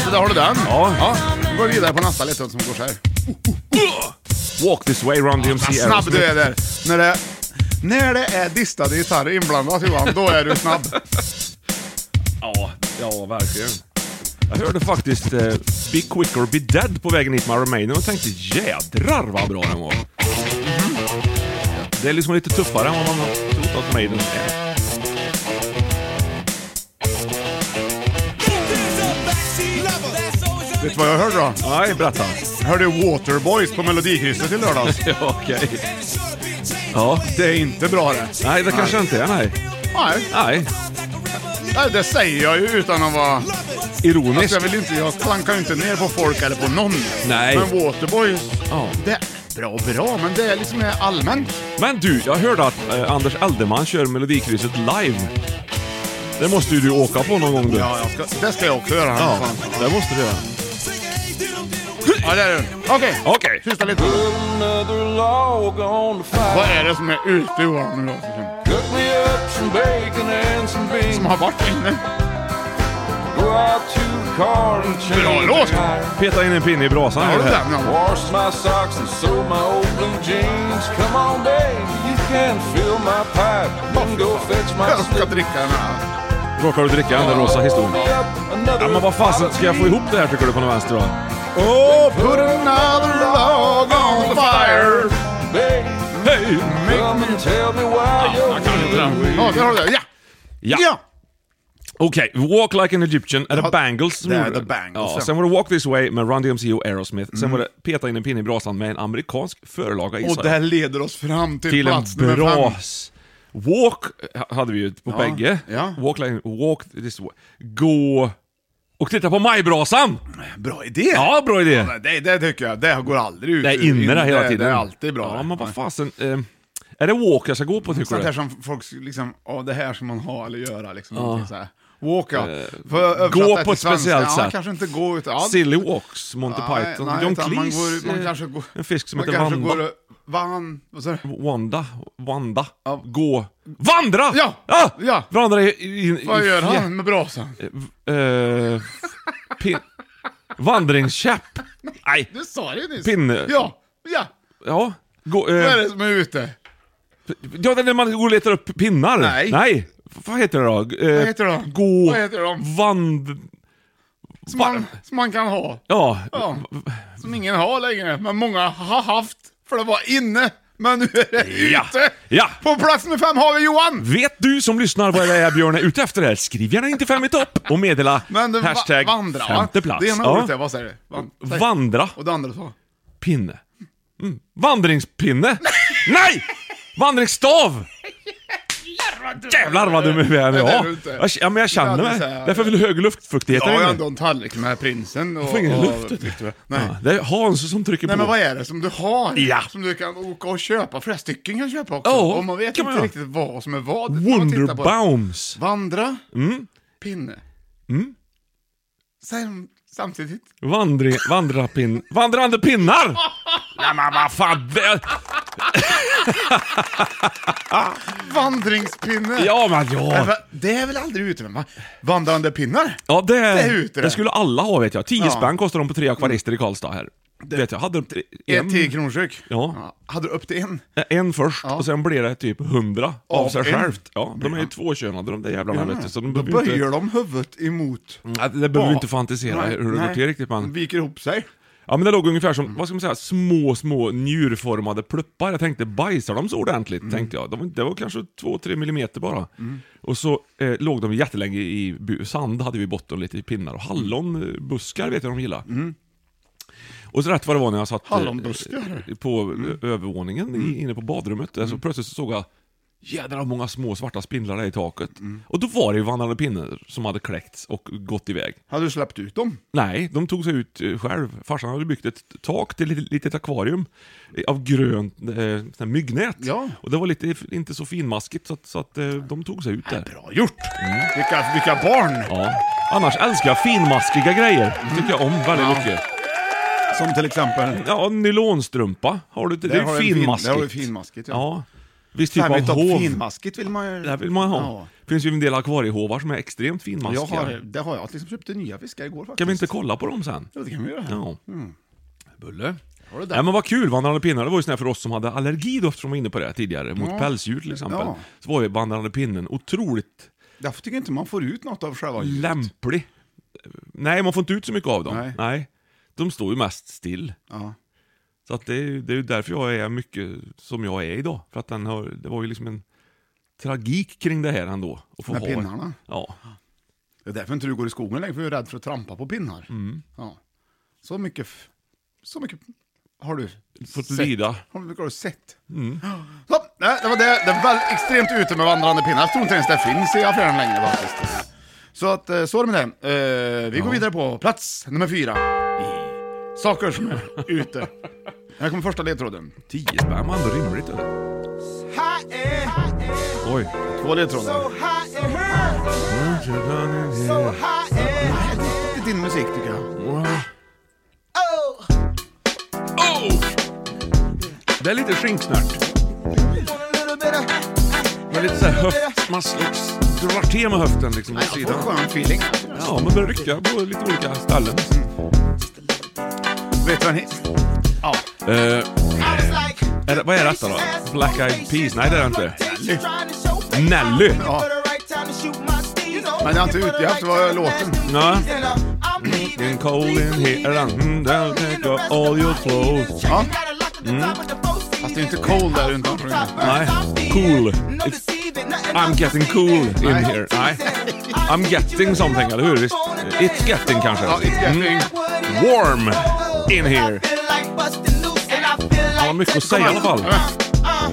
Speaker 1: Så där har du den.
Speaker 2: Ja.
Speaker 1: Nu går vi vidare på nästa ledtråd som går så här.
Speaker 2: Walk this way, Run DMC.
Speaker 1: Vad snabb du
Speaker 2: Aerosmith.
Speaker 1: är där. När det, när det är distade gitarrer inblandat Johan, då är du snabb.
Speaker 2: Ja, ja, verkligen. Jag hörde faktiskt eh, Be Quick or Be Dead på vägen hit med Iron Maiden och tänkte jädrar vad bra den var. Det är liksom lite tuffare än vad man har trott att Maiden är.
Speaker 1: Vet du vad jag hörde då?
Speaker 2: Nej,
Speaker 1: <laughs>
Speaker 2: berätta.
Speaker 1: Jag hörde Waterboys på Melodikrysset i lördags.
Speaker 2: Ja, okej. Ja.
Speaker 1: Det är inte bra det.
Speaker 2: Nej, det kanske inte är, nej.
Speaker 1: Nej,
Speaker 2: Nej.
Speaker 1: nej, det säger jag ju utan att vara... Alltså,
Speaker 2: Ironiskt.
Speaker 1: jag, vill inte, jag klankar ju inte ner på folk eller på någon.
Speaker 2: Nej.
Speaker 1: Men Waterboys,
Speaker 2: Ja.
Speaker 1: det är bra och bra, men det är liksom mer allmänt.
Speaker 2: Men du, jag hörde att eh, Anders Eldeman kör Melodikrysset live. Det måste ju du åka på någon gång du.
Speaker 1: Ja, jag ska, det ska jag också göra.
Speaker 2: Ja,
Speaker 1: Ja,
Speaker 2: det måste du göra.
Speaker 1: ja det är det. Okej,
Speaker 2: Okej.
Speaker 1: sista lite. Vad är det som är ute Johan nu då? Som har varit inne? Bra låt!
Speaker 2: Peta in en pinne i brasan.
Speaker 1: Har
Speaker 2: gör
Speaker 1: du
Speaker 2: det här.
Speaker 1: den? Ja. <laughs> Jag ska dricka den här.
Speaker 2: Råkar du dricka den där rosa historien? Ja, men vad fasen, ska jag få ihop det här tycker du på något vänster då?
Speaker 1: Oh, put another log on the fire.
Speaker 2: Hej! Jag kan inte den.
Speaker 1: Ja, där har du det. Ja!
Speaker 2: Ja! Okej, Walk Like an Egyptian, är det
Speaker 1: Ja,
Speaker 2: Bangles som
Speaker 1: det är
Speaker 2: gjorde
Speaker 1: The Bangles,
Speaker 2: ja,
Speaker 1: ja. Mm.
Speaker 2: Sen var det Walk This Way med Run DMC och Aerosmith. Sen var det Peta in en pinne i brasan med en amerikansk förlaga
Speaker 1: Och
Speaker 2: gissar
Speaker 1: det
Speaker 2: jag.
Speaker 1: här leder oss fram till,
Speaker 2: Till en
Speaker 1: plats nummer fem.
Speaker 2: bras. Walk ha- hade vi ju på bägge.
Speaker 1: ja.
Speaker 2: Walk, like, walk this way. Gå och titta på majbrasan!
Speaker 1: Bra idé!
Speaker 2: Ja, bra idé!
Speaker 1: Nej, Det, det tycker jag, det går aldrig ut.
Speaker 2: Det är inne där hela tiden.
Speaker 1: Det är alltid bra. Mm,
Speaker 2: Ja, men vad fasen. Eh, är det walk jag ska gå på tycker
Speaker 1: Sånt här
Speaker 2: du?
Speaker 1: som folk liksom, ja det här som man har eller göra liksom. någonting Så här. Walka. För att översätta
Speaker 2: Eh, gå
Speaker 1: det
Speaker 2: på
Speaker 1: till
Speaker 2: ett
Speaker 1: svenska,
Speaker 2: speciellt
Speaker 1: ja,
Speaker 2: sätt.
Speaker 1: kanske inte gå ut allt.
Speaker 2: Silly walks, Monty
Speaker 1: Nej,
Speaker 2: Python,
Speaker 1: nej,
Speaker 2: John
Speaker 1: utan man
Speaker 2: Cleese,
Speaker 1: går- man
Speaker 2: eh,
Speaker 1: kanske går-
Speaker 2: en fisk som
Speaker 1: man
Speaker 2: heter
Speaker 1: kanske
Speaker 2: Wanda.
Speaker 1: går Van... Vad sa du?
Speaker 2: Wanda, Wanda,
Speaker 1: Ja.
Speaker 2: gå, vandra!
Speaker 1: Ja, ja.
Speaker 2: Vandra i... i, i
Speaker 1: Vad gör
Speaker 2: fjä-
Speaker 1: han med brasan?
Speaker 2: Eh, pin, vandringskäpp. Nej,
Speaker 1: Du sa det ju nyss.
Speaker 2: Pinne.
Speaker 1: Ja, ja.
Speaker 2: ja. Gå,
Speaker 1: Vad
Speaker 2: eh,
Speaker 1: är det som är ute?
Speaker 2: ja, det är när man går och letar upp pinnar.
Speaker 1: Nej.
Speaker 2: Nej. Vad heter det då? Eh,
Speaker 1: Vad heter de?
Speaker 2: Gå...
Speaker 1: Vad heter de?
Speaker 2: Vand...
Speaker 1: Som man, som man kan ha.
Speaker 2: Ja.
Speaker 1: Ja. Som ingen har längre, men många har haft. För det var inne, men nu är det
Speaker 2: Ja.
Speaker 1: ute.
Speaker 2: Ja.
Speaker 1: På plats nummer fem har vi Johan.
Speaker 2: Vet du som lyssnar vad det är Björn är ute efter här? Skriv gärna inte fem i topp och meddela
Speaker 1: Men det
Speaker 2: hashtag
Speaker 1: va- vandra, va?
Speaker 2: femte plats.
Speaker 1: Det ena
Speaker 2: Ja.
Speaker 1: ordet är, vad säger du? Van, säg.
Speaker 2: Vandra.
Speaker 1: Och det andra så.
Speaker 2: Pinne. Mm. Vandringspinne. Nej! Vandringsstav! Jävlar vad dum i
Speaker 1: Nej, det är
Speaker 2: är
Speaker 1: du
Speaker 2: nu.
Speaker 1: inte.
Speaker 2: Ja. Ja, men jag känner
Speaker 1: Det är
Speaker 2: mig.
Speaker 1: så här-
Speaker 2: Därför vill du hög luftfuktighet
Speaker 1: Jag har ju
Speaker 2: här
Speaker 1: ändå
Speaker 2: inne.
Speaker 1: en tallrik med prinsen och...
Speaker 2: Jag får ingen
Speaker 1: och-
Speaker 2: luft. vet du.
Speaker 1: Nej.
Speaker 2: Ja, det är Hans som trycker
Speaker 1: Nej
Speaker 2: på.
Speaker 1: men vad är det som du har?
Speaker 2: Ja.
Speaker 1: Som du kan åka och köpa? Flera stycken kan köpa också.
Speaker 2: Ja,
Speaker 1: och man vet
Speaker 2: kan man
Speaker 1: inte
Speaker 2: göra.
Speaker 1: riktigt vad som är vad. när man tittar på det.
Speaker 2: Wonderbaums.
Speaker 1: Vandra.
Speaker 2: Mm.
Speaker 1: Pinne. Sen, samtidigt.
Speaker 2: Vandring, vandrapin, vandrande pinnar!
Speaker 1: <laughs>
Speaker 2: Nej men vad fan! det-
Speaker 1: Vandringspinne.
Speaker 2: Ja men
Speaker 1: Men
Speaker 2: ja!
Speaker 1: Äh, va- Det är väl aldrig ute men va? Vandrande pinnar?
Speaker 2: Ja, det,
Speaker 1: Det är ute det.
Speaker 2: det skulle alla ha vet jag. 10
Speaker 1: Ja. Mm.
Speaker 2: spänn kostar de på tre akvarister i Karlstad här. vet jag, hade de tre-
Speaker 1: Ett
Speaker 2: en,
Speaker 1: 10 kronstyck?
Speaker 2: Ja.
Speaker 1: Hade du upp till en?
Speaker 2: en först och sen blir det typ 100 av,
Speaker 1: Av
Speaker 2: sig
Speaker 1: en?
Speaker 2: självt. Ja, de är ju tvåkönade de där jävlarna vet du. Så de
Speaker 1: Mm. Då
Speaker 2: behöver ju
Speaker 1: böjer
Speaker 2: inte, Mm,
Speaker 1: de huvudet emot...
Speaker 2: Ja, det behöver vi
Speaker 1: Ja.
Speaker 2: inte fantisera
Speaker 1: Nej,
Speaker 2: hur det
Speaker 1: nej.
Speaker 2: går till riktigt
Speaker 1: De
Speaker 2: men.
Speaker 1: Viker ihop sig.
Speaker 2: Ja men det låg ungefär som, vad ska man säga, små, små njurformade pluppar. Jag tänkte, bajsar de så ordentligt? Tänkte jag. De, var- det var kanske 2-3 millimeter bara. Och så eh, låg de jättelänge i bu- sand, hade vi i botten lite i pinnar. Och hallonbuskar vet jag de gillar. Och så rätt vad det var när jag satt eh,
Speaker 1: Hallonbuskar?
Speaker 2: eh, på eh, övervåningen i, inne på badrummet, där, så Alltså, plötsligt så såg jag Jädrar vad många små svarta spindlar det är i taket. Och då var det ju vandrande pinnar som hade kläckts och gått iväg.
Speaker 1: Hade du släppt ut dem?
Speaker 2: Nej, de tog sig ut eh, själv. Farsan hade byggt ett tak till ett litet akvarium eh, av grönt eh, sån här myggnät.
Speaker 1: Ja.
Speaker 2: Och det var lite, inte så finmaskigt så, att, så att eh, de tog sig ut där.
Speaker 1: Bra gjort! Vilka, vilka barn!
Speaker 2: Ja. Annars älskar jag finmaskiga grejer. Det tycker jag om väldigt
Speaker 1: Mm. Ja.
Speaker 2: mycket.
Speaker 1: Som till exempel...
Speaker 2: Ja, nylonstrumpa har du. Det
Speaker 1: Där
Speaker 2: är
Speaker 1: har
Speaker 2: ju
Speaker 1: du en fin-
Speaker 2: finmaskigt.
Speaker 1: där har du finmaskigt, ja.
Speaker 2: ja. Viss typ
Speaker 1: Typ
Speaker 2: av hov.
Speaker 1: finmaskigt vill man ju...
Speaker 2: Det här vill man ha.
Speaker 1: Ja.
Speaker 2: Det finns ju en del akvariehovar som är extremt finmaskiga.
Speaker 1: Jag har, det har jag. Liksom köpte nya fiskar igår faktiskt.
Speaker 2: Kan vi inte kolla på dem sen?
Speaker 1: Ja, det kan vi göra.
Speaker 2: Ja. Bulle.
Speaker 1: Har du det?
Speaker 2: Nej men vad kul, vandrande pinnar. Det var ju sån här för oss som hade allergi då, eftersom vi var inne på det tidigare, mot
Speaker 1: Ja.
Speaker 2: pälsdjur till exempel.
Speaker 1: Ja.
Speaker 2: Så var ju vandrande pinnen otroligt
Speaker 1: Därför tycker jag inte man får ut något av själva ljudet.
Speaker 2: lämplig. Nej, man får inte ut så mycket av dem.
Speaker 1: Nej.
Speaker 2: De står ju mest still.
Speaker 1: Ja.
Speaker 2: Så att det, är, ju- det är ju därför jag är mycket som jag är idag. För att den har, det var ju liksom en tragik kring det här ändå. Att få
Speaker 1: Med
Speaker 2: ha.
Speaker 1: pinnarna?
Speaker 2: Ja.
Speaker 1: Det är därför inte du går i skogen längre, för du är rädd för att trampa på pinnar.
Speaker 2: Mm.
Speaker 1: Ja. Så mycket... f- Så mycket har du
Speaker 2: Fått
Speaker 1: sett.
Speaker 2: lida. Mm.
Speaker 1: Har du, har du sett? Så, nej, det var det. Det var extremt ute med vandrande pinnar. Jag tror inte ens det finns i affären längre faktiskt. Så att, eh, så är det med det. Eh, vi går vidare på plats nummer fyra. I saker som är ute. Här kommer första ledtråden.
Speaker 2: 10 spänn var ändå rimligt eller? Oj.
Speaker 1: Två ledtrådar. Oh, Det är din musik tycker jag. Oh,
Speaker 2: Det är lite skinksnärt. Men lite såhär höft, man slags drar till med höften liksom åt
Speaker 1: Jag får
Speaker 2: sidan.
Speaker 1: skön feeling.
Speaker 2: Ja, man börjar rycka på lite olika ställen.
Speaker 1: Vet du vad ni... Ja.
Speaker 2: Eh, är det, vad är detta då? Black Eyed Peas? Nej det är det inte. Nelly!
Speaker 1: Ja. Men jag har inte utgett vad låten.
Speaker 2: Ja. Getting cold in here and mm, they'll take off all your clothes. Mm.
Speaker 1: Ja. Fast det är inte cold där runt omkring.
Speaker 2: Nej. Cool. It's, I'm getting cool in
Speaker 1: Nej.
Speaker 2: here. Nej. I'm getting something, eller hur? Visst? It's getting kanske? Mm.
Speaker 1: Ja, it's getting.
Speaker 2: Warm in here. Han har mycket att säga i alla fall.
Speaker 3: Uh,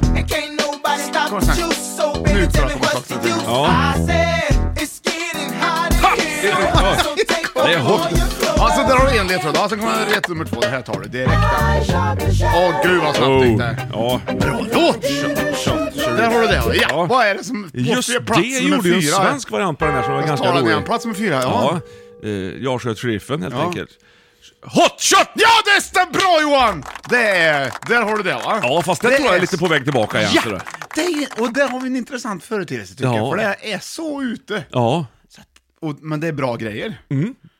Speaker 1: Kom sen. Nu tror jag att de har sagt det.
Speaker 2: Ja. Ha! Det är hot.
Speaker 1: Alltså där har du en ledtråd. Alltså kommer ledtråd nummer två. Det här tar du direkt. Åh gud vad snabbt det gick
Speaker 2: Oh.
Speaker 1: där.
Speaker 2: Ja.
Speaker 1: Bra låt! Där har du det. Ja,
Speaker 2: Ja.
Speaker 1: vad är det som... på
Speaker 2: Just
Speaker 1: fyra- plats
Speaker 2: det
Speaker 1: nummer
Speaker 2: gjorde ju en
Speaker 1: fyra?
Speaker 2: svensk variant på den här som var
Speaker 1: Jag
Speaker 2: ganska
Speaker 1: talade
Speaker 2: rolig.
Speaker 1: igen. Plats nummer fyra, ja.
Speaker 2: Ja. Eh, Jag sköt sheriffen helt
Speaker 1: Ja.
Speaker 2: enkelt. Hot shot!
Speaker 1: Ja, det stämmer bra Johan! Det är... Där har du det va?
Speaker 2: Ja, fast det, tror jag är lite på väg tillbaka igen.
Speaker 1: Ja,
Speaker 2: sådär.
Speaker 1: det är, och där har vi en intressant företeelse tycker
Speaker 2: Ja.
Speaker 1: jag, för det här är så ute.
Speaker 2: ja.
Speaker 1: Och, men det är bra grejer.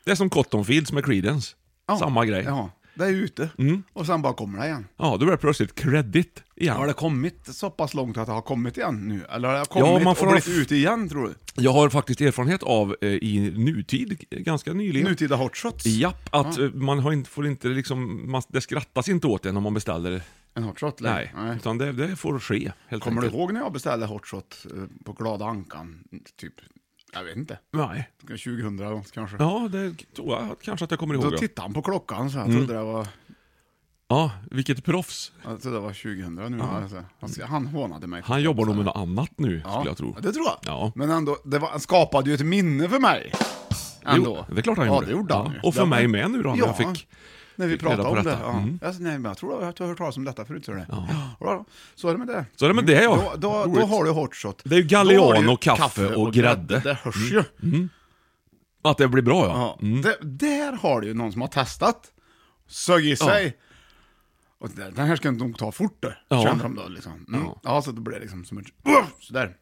Speaker 2: Det är som Cotton Fields med Creedence.
Speaker 1: Ja.
Speaker 2: Mm, Samma grej. Mm. Ja.
Speaker 1: Ja, det är ute. Och sen bara kommer det igen.
Speaker 2: då blir det plötsligt credit igen.
Speaker 1: Har det kommit så pass långt att det har kommit igen nu? Eller har det kommit
Speaker 2: Ja, man får
Speaker 1: och
Speaker 2: ha
Speaker 1: blivit
Speaker 2: f-
Speaker 1: ute igen tror du?
Speaker 2: Jag har faktiskt erfarenhet av eh, i nutid, eh, ganska nyligen.
Speaker 1: Nutida hot shots?
Speaker 2: Japp, att eh, man har inte, får inte liksom, man, det skrattas inte åt en om man beställer.
Speaker 1: En hot shot? eller?
Speaker 2: Nej, utan det, det får ske helt
Speaker 1: Kommer du
Speaker 2: enkelt.
Speaker 1: ihåg när jag beställde hot shot eh, på Glada Ankan? Typ, jag vet inte.
Speaker 2: Nej.
Speaker 1: 2000 eller något kanske.
Speaker 2: Ja, det tror jag att- kanske att jag Mm. kommer ihåg.
Speaker 1: Då
Speaker 2: ja.
Speaker 1: tittade han på klockan så här, jag trodde det var,
Speaker 2: Ja, vilket proffs.
Speaker 1: jag trodde det var 2000 nu. Alltså. Han, han hånade mig.
Speaker 2: Han jobbar nog med något annat nu,
Speaker 1: Ja,
Speaker 2: skulle jag tro.
Speaker 1: Det tror jag.
Speaker 2: Ja.
Speaker 1: Men ändå, det var, han skapade ju ett minne för mig. Ändå.
Speaker 2: Jo, det är klart han
Speaker 1: ja,
Speaker 2: gjorde.
Speaker 1: det gjorde han
Speaker 2: Ja,
Speaker 1: ju.
Speaker 2: Och för
Speaker 1: Det-
Speaker 2: mig med nu då, när
Speaker 1: Ja,
Speaker 2: jag fick...
Speaker 1: När vi
Speaker 2: fick reda
Speaker 1: pratade
Speaker 2: på
Speaker 1: om det.
Speaker 2: detta.
Speaker 1: Ja.
Speaker 2: Mm.
Speaker 1: Jag sa, nej, men jag tror att jag har hört talas om detta förut. Tror jag. Ja. Ja, då, så är det med det. Mm.
Speaker 2: Så är det med det, ja.
Speaker 1: Då, då, då
Speaker 2: Roligt.
Speaker 1: har du hot shot.
Speaker 2: Det är ju Galliano, kaffe och grädde.
Speaker 1: Det hörs ju.
Speaker 2: Att det blir bra, ja.
Speaker 1: Ja. Det, där har du ju någon som har testat. Sög i sig. Och det- den här ska jag nog ta fort det,
Speaker 2: Ja.
Speaker 1: kände de då. Liksom. Mm. Ja. så det blev liksom som ett... Sådär.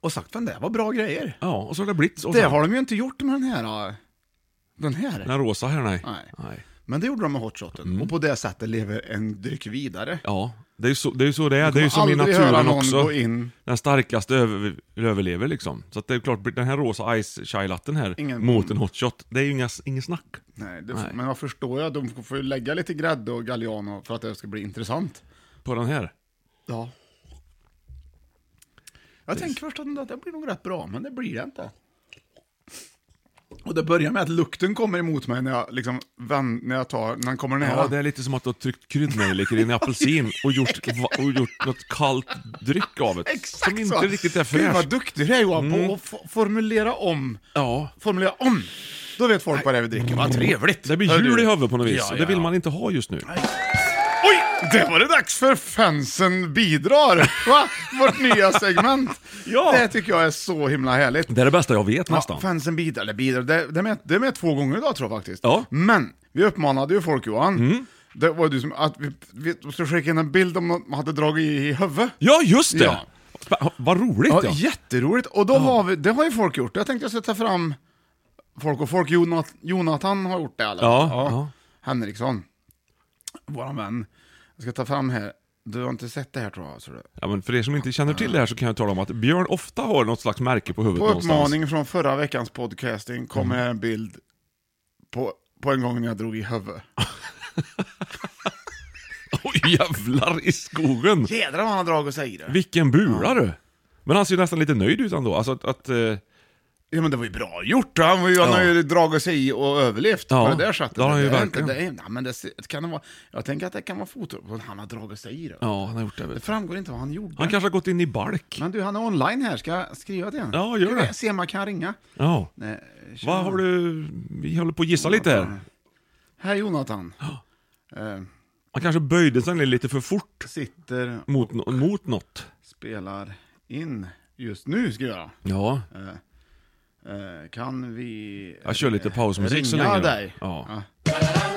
Speaker 1: Och sagt, men det var bra grejer.
Speaker 2: Ja, och så har det blivit. Och
Speaker 1: Det
Speaker 2: sen-
Speaker 1: har de ju inte gjort med den här... äh, Den här.
Speaker 2: Den här rosa här, nej. Mm.
Speaker 1: Nej. Men det gjorde de med hotshoten. Och på det sättet lever en dryck vidare.
Speaker 2: Ja, det är ju så det är. Ju så det, är. det är ju som i
Speaker 1: aldrig höra
Speaker 2: naturen
Speaker 1: någon
Speaker 2: också.
Speaker 1: gå in.
Speaker 2: Den starkaste över, överlever liksom. Så att det är klart, den här rosa ice chai latten här
Speaker 1: Ingen-
Speaker 2: mot en hotshot, det är ju inga, ingen snack.
Speaker 1: Nej, det, Men jag förstår ju att de får ju lägga lite grädde och galliano för att det ska bli intressant.
Speaker 2: På den här.
Speaker 1: Ja. Jag tänker först att det blir nog rätt bra, men det blir det inte. Och det börjar med att lukten kommer emot mig när jag, liksom, vän, när jag tar, när den kommer nära.
Speaker 2: Ja, det är lite som att du har tryckt kryddnejlikor i en apelsin och gjort, va- och gjort något kallt dryck av det.
Speaker 1: Exakt
Speaker 2: som inte
Speaker 1: så.
Speaker 2: riktigt är
Speaker 1: Gud vad
Speaker 2: fräscht. Mm.
Speaker 1: duktig du är Johan på att fo- formulera om.
Speaker 2: Ja.
Speaker 1: Formulera om. Då vet folk vad det är vi dricker. Vad trevligt.
Speaker 2: Det blir
Speaker 1: Hör
Speaker 2: jul
Speaker 1: du.
Speaker 2: i huvudet på något vis,
Speaker 1: Ja,
Speaker 2: och det
Speaker 1: ja,
Speaker 2: vill
Speaker 1: ja.
Speaker 2: man inte ha just nu.
Speaker 1: Oj! Det var det dags för Fansen bidrar. Va? Vårt nya segment.
Speaker 2: Ja.
Speaker 1: Det tycker jag är så himla härligt.
Speaker 2: Det är det bästa jag vet
Speaker 1: Ja,
Speaker 2: nästan.
Speaker 1: fansen bidrar, eller bidrar, det, det, är med, det är med två gånger idag tror jag faktiskt.
Speaker 2: Ja. Mm.
Speaker 1: Men, vi uppmanade ju folk Johan, det var ju du som, att vi, vi skulle skicka in en bild om något man hade dragit i, i huvudet.
Speaker 2: Ja, just det!
Speaker 1: Ja.
Speaker 2: Spa- Vad roligt
Speaker 1: Ja,
Speaker 2: ja.
Speaker 1: Jätteroligt, och då har vi, det har ju folk gjort. Jag tänkte jag skulle ta fram folk och folk. Jonat, Jonathan har gjort det eller?
Speaker 2: Ja, ja.
Speaker 1: Henriksson, våran vän. Jag ska ta fram här, du har inte sett det här tror jag. Så det.
Speaker 2: Ja, men för er som inte känner till det här så kan jag tala om att Björn ofta har något slags märke på huvudet
Speaker 1: På
Speaker 2: någonstans. Mm.
Speaker 1: uppmaning från förra veckans podcasting kommer här en bild på, på en gång när jag drog i huvudet.
Speaker 2: <laughs> Oj, jävlar i skogen!
Speaker 1: Jädrar vad han har dragit sig i det.
Speaker 2: Vilken bura du! Men han ser ju nästan lite nöjd ut ändå. Alltså att... att eh,
Speaker 1: Ja men det var ju bra gjort, han, var ju, han
Speaker 2: Ja.
Speaker 1: har ju dragit sig i och överlevt
Speaker 2: Ja,
Speaker 1: på det där sättet.
Speaker 2: det har han ju
Speaker 1: det är
Speaker 2: verkligen.
Speaker 1: Inte, det är, nej, men det, ser- kan det vara, jag tänker att det kan vara foto, han har dragit sig i det.
Speaker 2: ja, han har gjort det.
Speaker 1: Det
Speaker 2: Vet. du.
Speaker 1: framgår inte vad han gjorde.
Speaker 2: Han kanske har gått in i balk.
Speaker 1: Men du, han är online här, ska jag skriva till honom?
Speaker 2: Ja, gör
Speaker 1: Ska
Speaker 2: det.
Speaker 1: vi Se om man kan ringa.
Speaker 2: Ja.
Speaker 1: Nej, tja.
Speaker 2: Vad har du... Vi håller på att gissa lite här.
Speaker 1: Här Jonathan. Eh,
Speaker 2: Han kanske böjde sig ner lite för fort
Speaker 1: sitter,
Speaker 2: mot, no- mot något.
Speaker 1: spelar in just nu, ska jag göra.
Speaker 2: Ja.
Speaker 1: Eh, kan vi...
Speaker 2: Jag kör lite pausmusik så
Speaker 1: Ringa
Speaker 2: länge. då.
Speaker 1: dig.
Speaker 2: Ja. La,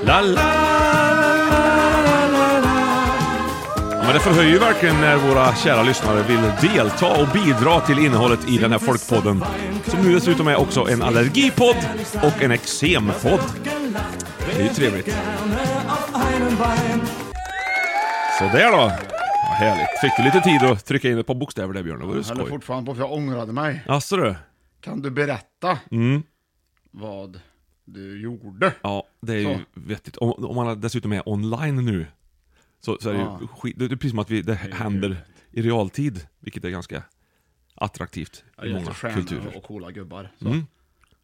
Speaker 2: la, la, la, la. Ja, men det förhöjer ju verkligen när våra kära lyssnare vill delta och bidra till innehållet i den här Folkpodden. Som nu dessutom är också en allergipodd och en eksempodd. Det är ju trevligt. Sådär då. Ja, härligt. Fick du lite tid att trycka in ett par bokstäver där Björn? Det var ju
Speaker 1: Jag håller
Speaker 2: skoj.
Speaker 1: fortfarande på för jag ångrade mig.
Speaker 2: Jaså du?
Speaker 1: Kan du berätta vad du gjorde?
Speaker 2: Mm. Ja, det är ju
Speaker 1: Så.
Speaker 2: vettigt. Om, om man dessutom är online nu, så, så är det ju skit, det är precis som att vi, det händer i realtid, vilket är ganska attraktivt i många
Speaker 1: Jättestjärnor
Speaker 2: kulturer. Mm.
Speaker 1: och coola gubbar. Så.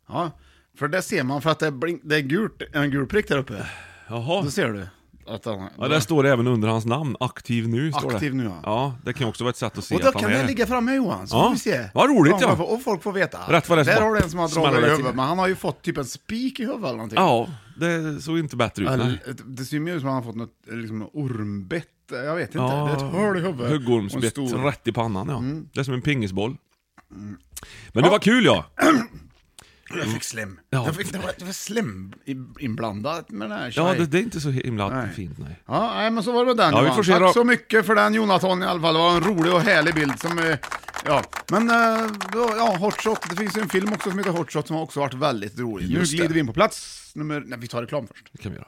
Speaker 1: Ja, för det ser man för att det är, blink, det är gult, en gul prick där uppe.
Speaker 2: Jaha.
Speaker 1: Då ser du. Att han,
Speaker 2: Ja, där står det även under hans namn, aktiv nu. Står det.
Speaker 1: Aktiv nu, ja.
Speaker 2: Ja, det kan ju också vara ett sätt att se
Speaker 1: Och då
Speaker 2: att han
Speaker 1: kan
Speaker 2: är
Speaker 1: det
Speaker 2: det.
Speaker 1: ligga framme Johan, så
Speaker 2: Ja,
Speaker 1: får vi se.
Speaker 2: vad roligt, ja.
Speaker 1: Och folk får veta.
Speaker 2: Rätt vad det är så
Speaker 1: Där
Speaker 2: bara
Speaker 1: har du en som har
Speaker 2: smäller
Speaker 1: dragit i
Speaker 2: det till.
Speaker 1: huvudet, men han har ju fått typ en spik i huvudet eller någonting.
Speaker 2: Ja, det såg inte bättre ut.
Speaker 1: Eller,
Speaker 2: nej.
Speaker 1: det ser ju ut som att han har fått något liksom, ormbett, jag vet inte.
Speaker 2: Ja,
Speaker 1: det är ett hål i huvudet.
Speaker 2: Huggormsbett
Speaker 1: Och en stor- Mm.
Speaker 2: rätt i pannan, ja. Det är som en pingisboll. Men det var kul ja!
Speaker 1: Jag fick slem.
Speaker 2: Ja.
Speaker 1: Jag fick, det, var, det var slem i- inblandat med den här
Speaker 2: Ja,
Speaker 1: tjej.
Speaker 2: det, det är inte så himla
Speaker 1: Nej.
Speaker 2: fint nej.
Speaker 1: Ja, nej, men så var det med den
Speaker 2: Ja, vi
Speaker 1: Johan.
Speaker 2: får se
Speaker 1: Tack
Speaker 2: då.
Speaker 1: så mycket för den Jonathan i alla fall. Det var en rolig och härlig bild som... eh, Ja, men eh, då, ja, Hot Shot. Det finns ju en film också som heter Hot Shot som har också varit väldigt rolig.
Speaker 2: Just
Speaker 1: nu glider
Speaker 2: det.
Speaker 1: vi in på plats nummer... Nej, vi tar reklam först.
Speaker 2: Det kan vi göra.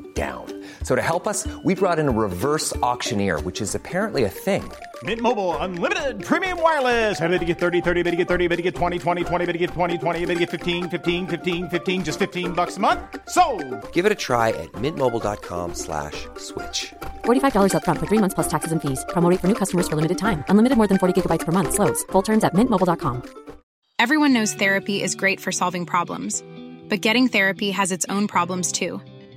Speaker 4: down. So to help us, we brought in a reverse auctioneer, which is apparently a thing.
Speaker 5: Mint Mobile unlimited premium wireless. Ready to get 30, 30, bit to get 30, bit to get 20, 20, 20, bit to get 20, 20, bit to get 15, 15, 15, 15 just 15 bucks a month. Sold.
Speaker 4: Give it a try at mintmobile.com slash switch.
Speaker 6: $45 upfront for three months plus taxes and fees. Promo rate for new customers for limited time. Unlimited more than 40 gigabytes per month. Slows. Full terms at mintmobile.com.
Speaker 7: Everyone knows therapy is great for solving problems, but getting therapy has its own problems too,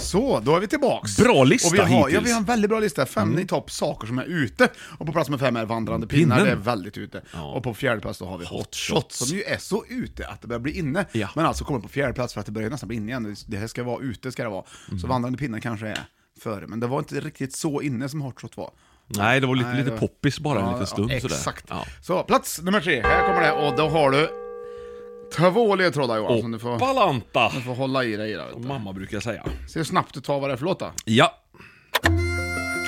Speaker 1: Så, då är vi tillbaks.
Speaker 2: Bra lista
Speaker 1: och vi har, ja,
Speaker 2: hittills. Mm.
Speaker 1: vi har en väldigt bra lista. Fem i topp saker som är ute. Och på plats med fem är vandrande pinnar,
Speaker 2: Pinnen.
Speaker 1: det är väldigt ute. Och på fjärde plats då har vi Hot,
Speaker 2: Hot
Speaker 1: Shot,
Speaker 2: Shots.
Speaker 1: som ju är så ute att det börjar bli inne.
Speaker 2: Ja.
Speaker 1: Men alltså kommer på fjärde plats för att det börjar nästan bli inne igen. Det här ska
Speaker 2: Mm.
Speaker 1: vara ute, ska det vara. Så vandrande pinnar kanske är före, men det var inte riktigt så inne som Hot Shot var.
Speaker 2: Nej, det var lite,
Speaker 1: Nej,
Speaker 2: lite
Speaker 1: det-
Speaker 2: poppis bara en liten stund sådär.
Speaker 1: Exakt.
Speaker 2: Ja.
Speaker 1: Så, plats nummer tre. Här kommer det, och då har du två ledtrådar Johan, som du får,
Speaker 2: Balanta!
Speaker 1: du får hålla i dig i. där, vet
Speaker 2: Som
Speaker 1: du.
Speaker 2: Mamma brukar säga.
Speaker 1: Se hur snabbt du tar vad det är för låt då.
Speaker 2: Ja.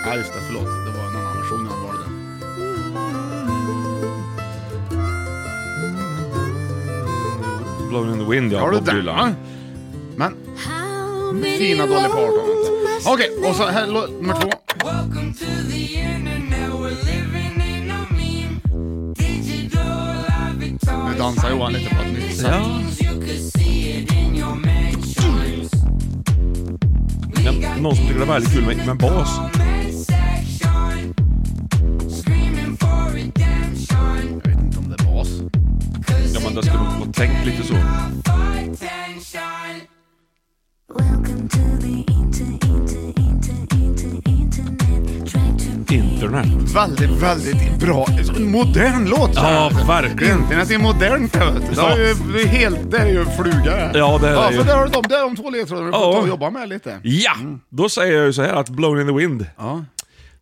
Speaker 1: Ja, just det, förlåt. Det var en annan version jag valde.
Speaker 2: Blowing in the wind, ja.
Speaker 1: har du
Speaker 2: Bob
Speaker 1: den
Speaker 2: Dylan.
Speaker 1: va? Men... Fina Dolly Parton. Okej, och så här låt nummer två. Nu dansar Johan lite på ett nytt sätt.
Speaker 2: Ja. Men, någon som tycker det var väldigt kul med, med bas.
Speaker 1: Jag vet inte om det är bas.
Speaker 2: Ja, men det skulle man ha tänkt lite så. Internet.
Speaker 1: Väldigt, väldigt bra. En Modern låt.
Speaker 2: Ja, verkligen.
Speaker 1: Internet är modernt det vet du. Det är ju det är helt... Det är ju en fluga det.
Speaker 2: Ja, det är
Speaker 1: ja,
Speaker 2: det
Speaker 1: så
Speaker 2: ju.
Speaker 1: där har du dem. Där är de två ledtrådarna du får
Speaker 2: Ja.
Speaker 1: ta och jobba med lite.
Speaker 2: Ja! Då säger jag ju så här att Blown in the wind,
Speaker 1: Mm. Ja.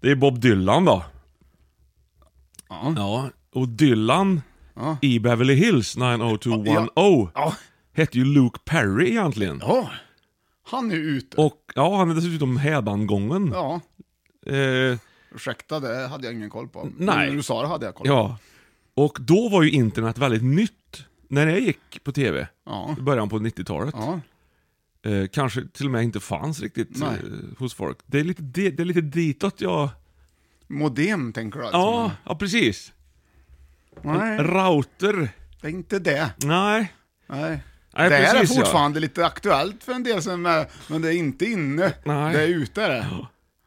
Speaker 2: det är Bob Dylan då.
Speaker 1: Ja.
Speaker 2: Ja. Och Dylan i Beverly Hills 90210
Speaker 1: Ja.
Speaker 2: hette ju Luke Perry egentligen.
Speaker 1: Ja. Han är ju ute.
Speaker 2: Och ja, han är dessutom hädangången.
Speaker 1: Ja.
Speaker 2: Eh,
Speaker 1: Ursäkta, det hade jag ingen koll på.
Speaker 2: Nej.
Speaker 1: När du sa det hade jag koll på.
Speaker 2: ja. Och då var ju internet väldigt nytt. När jag gick på TV,
Speaker 1: Ja.
Speaker 2: i början på 90-talet.
Speaker 1: Ja.
Speaker 2: Eh, kanske till och med inte fanns riktigt eh,
Speaker 1: Nej.
Speaker 2: hos folk. Det är lite, det, det är lite ditåt jag...
Speaker 1: Modem tänker du alltså?
Speaker 2: Ja, ja precis.
Speaker 1: Nej,
Speaker 2: Router.
Speaker 1: det är inte det.
Speaker 2: Nej.
Speaker 1: Nej.
Speaker 2: Nej,
Speaker 1: det här
Speaker 2: precis,
Speaker 1: är
Speaker 2: ja.
Speaker 1: fortfarande lite aktuellt för en del som är, men det är inte inne.
Speaker 2: Nej.
Speaker 1: Det är ute det.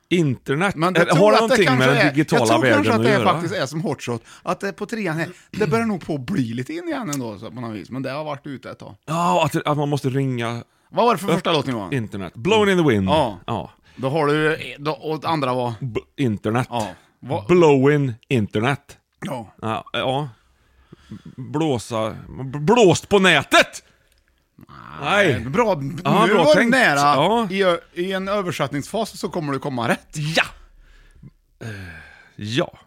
Speaker 2: Internet.
Speaker 1: Men
Speaker 2: Eh,
Speaker 1: jag
Speaker 2: har
Speaker 1: tror
Speaker 2: det
Speaker 1: att det
Speaker 2: någonting med
Speaker 1: kanske
Speaker 2: den
Speaker 1: är, jag
Speaker 2: digitala
Speaker 1: tror kanske
Speaker 2: världen
Speaker 1: att
Speaker 2: att
Speaker 1: det här
Speaker 2: göra?
Speaker 1: faktiskt är som hot shot, att det är på trean här, det börjar nog på att bli lite in igen ändå så, på något vis, men det har varit ute ett tag.
Speaker 2: Ja, att, att man måste ringa
Speaker 1: Vad var det för första låten Johan?
Speaker 2: internet. Blown in the wind.
Speaker 1: Ja. Då har du, då, och andra var?
Speaker 2: B- internet.
Speaker 1: Ja. Va-
Speaker 2: Blowing internet.
Speaker 1: Ja.
Speaker 2: Ja, ja. Blåsa... b- Blåst på nätet! Nej.
Speaker 1: Bra,
Speaker 2: Ja,
Speaker 1: nu
Speaker 2: bra
Speaker 1: var du
Speaker 2: tänkt.
Speaker 1: nära.
Speaker 2: Ja.
Speaker 1: I, ö- I en översättningsfas så kommer du komma rätt.
Speaker 2: Ja! Eh, Ja.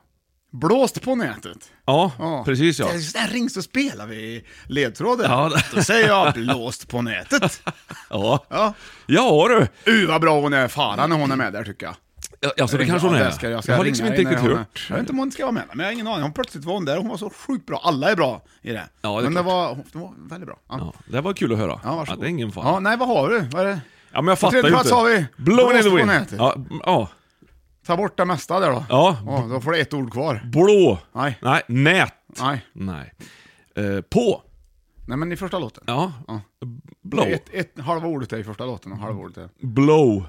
Speaker 1: Blåst på nätet.
Speaker 2: Ja,
Speaker 1: Ja.
Speaker 2: precis ja.
Speaker 1: Det är Så där rings så spelar vi ledtråden.
Speaker 2: Ja,
Speaker 1: Ja,
Speaker 2: det-
Speaker 1: Då säger jag blåst på nätet.
Speaker 2: <laughs> Ja.
Speaker 1: Ja.
Speaker 2: Ja alltså, du!
Speaker 1: Uh vad bra hon är, Farah, när hon är med där tycker jag.
Speaker 2: Ja, Alltså det kanske hon
Speaker 1: Ja,
Speaker 2: är.
Speaker 1: det Ska, jag, ska
Speaker 2: jag har liksom
Speaker 1: ringa
Speaker 2: inte
Speaker 1: henne
Speaker 2: riktigt
Speaker 1: när hon är-
Speaker 2: hört.
Speaker 1: Jag vet inte om hon ska vara med, men jag har ingen aning. Hon plötsligt var hon där och hon var så sjukt bra. Alla är bra i det.
Speaker 2: Ja, det är
Speaker 1: men det
Speaker 2: klart.
Speaker 1: var, det var väldigt bra. Ja.
Speaker 2: Ja, det var kul att höra.
Speaker 1: Ja,
Speaker 2: ja,
Speaker 1: varsågod.
Speaker 2: det är ingen fara.
Speaker 1: Ja, nej, vad har du? Vad är det?
Speaker 2: Ja, men jag
Speaker 1: På
Speaker 2: fattar ju
Speaker 1: tredje plats
Speaker 2: inte.
Speaker 1: har vi
Speaker 2: Blown in
Speaker 1: blåst
Speaker 2: the
Speaker 1: på
Speaker 2: wind.
Speaker 1: nätet.
Speaker 2: Ja, m- ja.
Speaker 1: Ta bort det mesta där då.
Speaker 2: Ja.
Speaker 1: då får du ett ord kvar.
Speaker 2: Blå.
Speaker 1: Nej.
Speaker 2: Nej. Nät.
Speaker 1: Nej,
Speaker 2: Nej. Eh, på.
Speaker 1: nej men i första låten.
Speaker 2: Ja.
Speaker 1: Ja.
Speaker 2: Blow.
Speaker 1: Ett, ett halva ordet är i första låten och halva ordet är...
Speaker 2: Blow.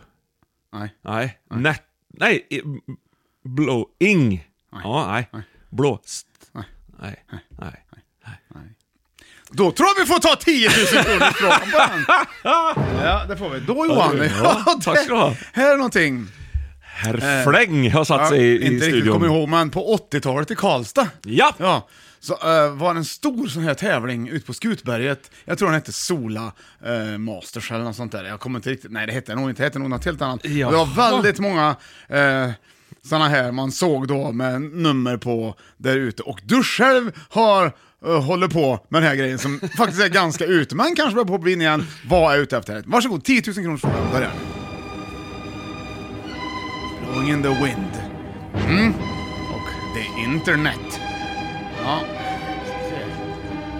Speaker 1: Nej.
Speaker 2: Nej. Nät. Nej. i- m- Blowing. Ja, nej. Blåst.
Speaker 1: Nej.
Speaker 2: Nej. Nej.
Speaker 1: Då tror jag vi får ta 10 000 kronor ifrån på den.
Speaker 2: <laughs>
Speaker 1: Ja, det får vi. Då Johan.
Speaker 2: Ja,
Speaker 1: Ja,
Speaker 2: tack ska du ha.
Speaker 1: det- Här är någonting.
Speaker 2: Herr Fläng har satt
Speaker 1: Ja,
Speaker 2: sig i, i
Speaker 1: inte riktigt
Speaker 2: studion.
Speaker 1: kommer ihåg, men på 80-talet i Karlstad.
Speaker 2: Ja.
Speaker 1: Ja, så eh, var det en stor sån här tävling ute på Skutberget. Jag tror den hette Sola eh, Masters eller något sånt där. Jag kommer inte riktigt... Nej, det hette den nog inte. Det hette nog något helt annat.
Speaker 2: Ja.
Speaker 1: Det var väldigt många eh, såna här man såg då med nummer på där ute. Och du själv har eh, håller på med den här grejen som <laughs> faktiskt är ganska ute, men kanske börjar på att bli in igen. Vad är jag ute efter? Varsågod, 10 000 kronors fråga. Börja. Blowing in the wind. Mm. Och det är internet. Ja.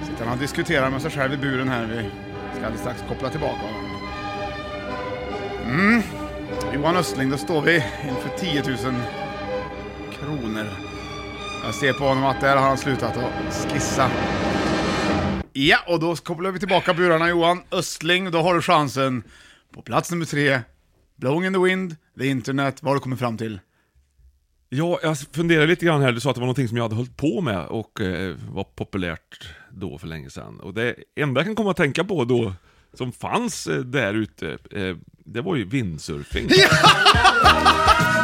Speaker 1: Sitter han och diskuterar med sig själv i buren här. Vi ska alldeles strax koppla tillbaka honom. Mm. Johan Östling, då står vi inför 10 000 kronor. Jag ser på honom att där har han slutat att skissa. Ja, och då kopplar vi tillbaka burarna Johan. Östling, då har du chansen. På plats nummer tre, Blowing in the wind, the internet, vad har du kommit fram till?
Speaker 2: Ja, jag funderar lite grann här. Du sa att det var någonting som jag hade hållit på med och eh, var populärt då för länge sedan. Och det enda jag kan komma att tänka på då, som fanns eh, där ute, eh, det var ju windsurfing.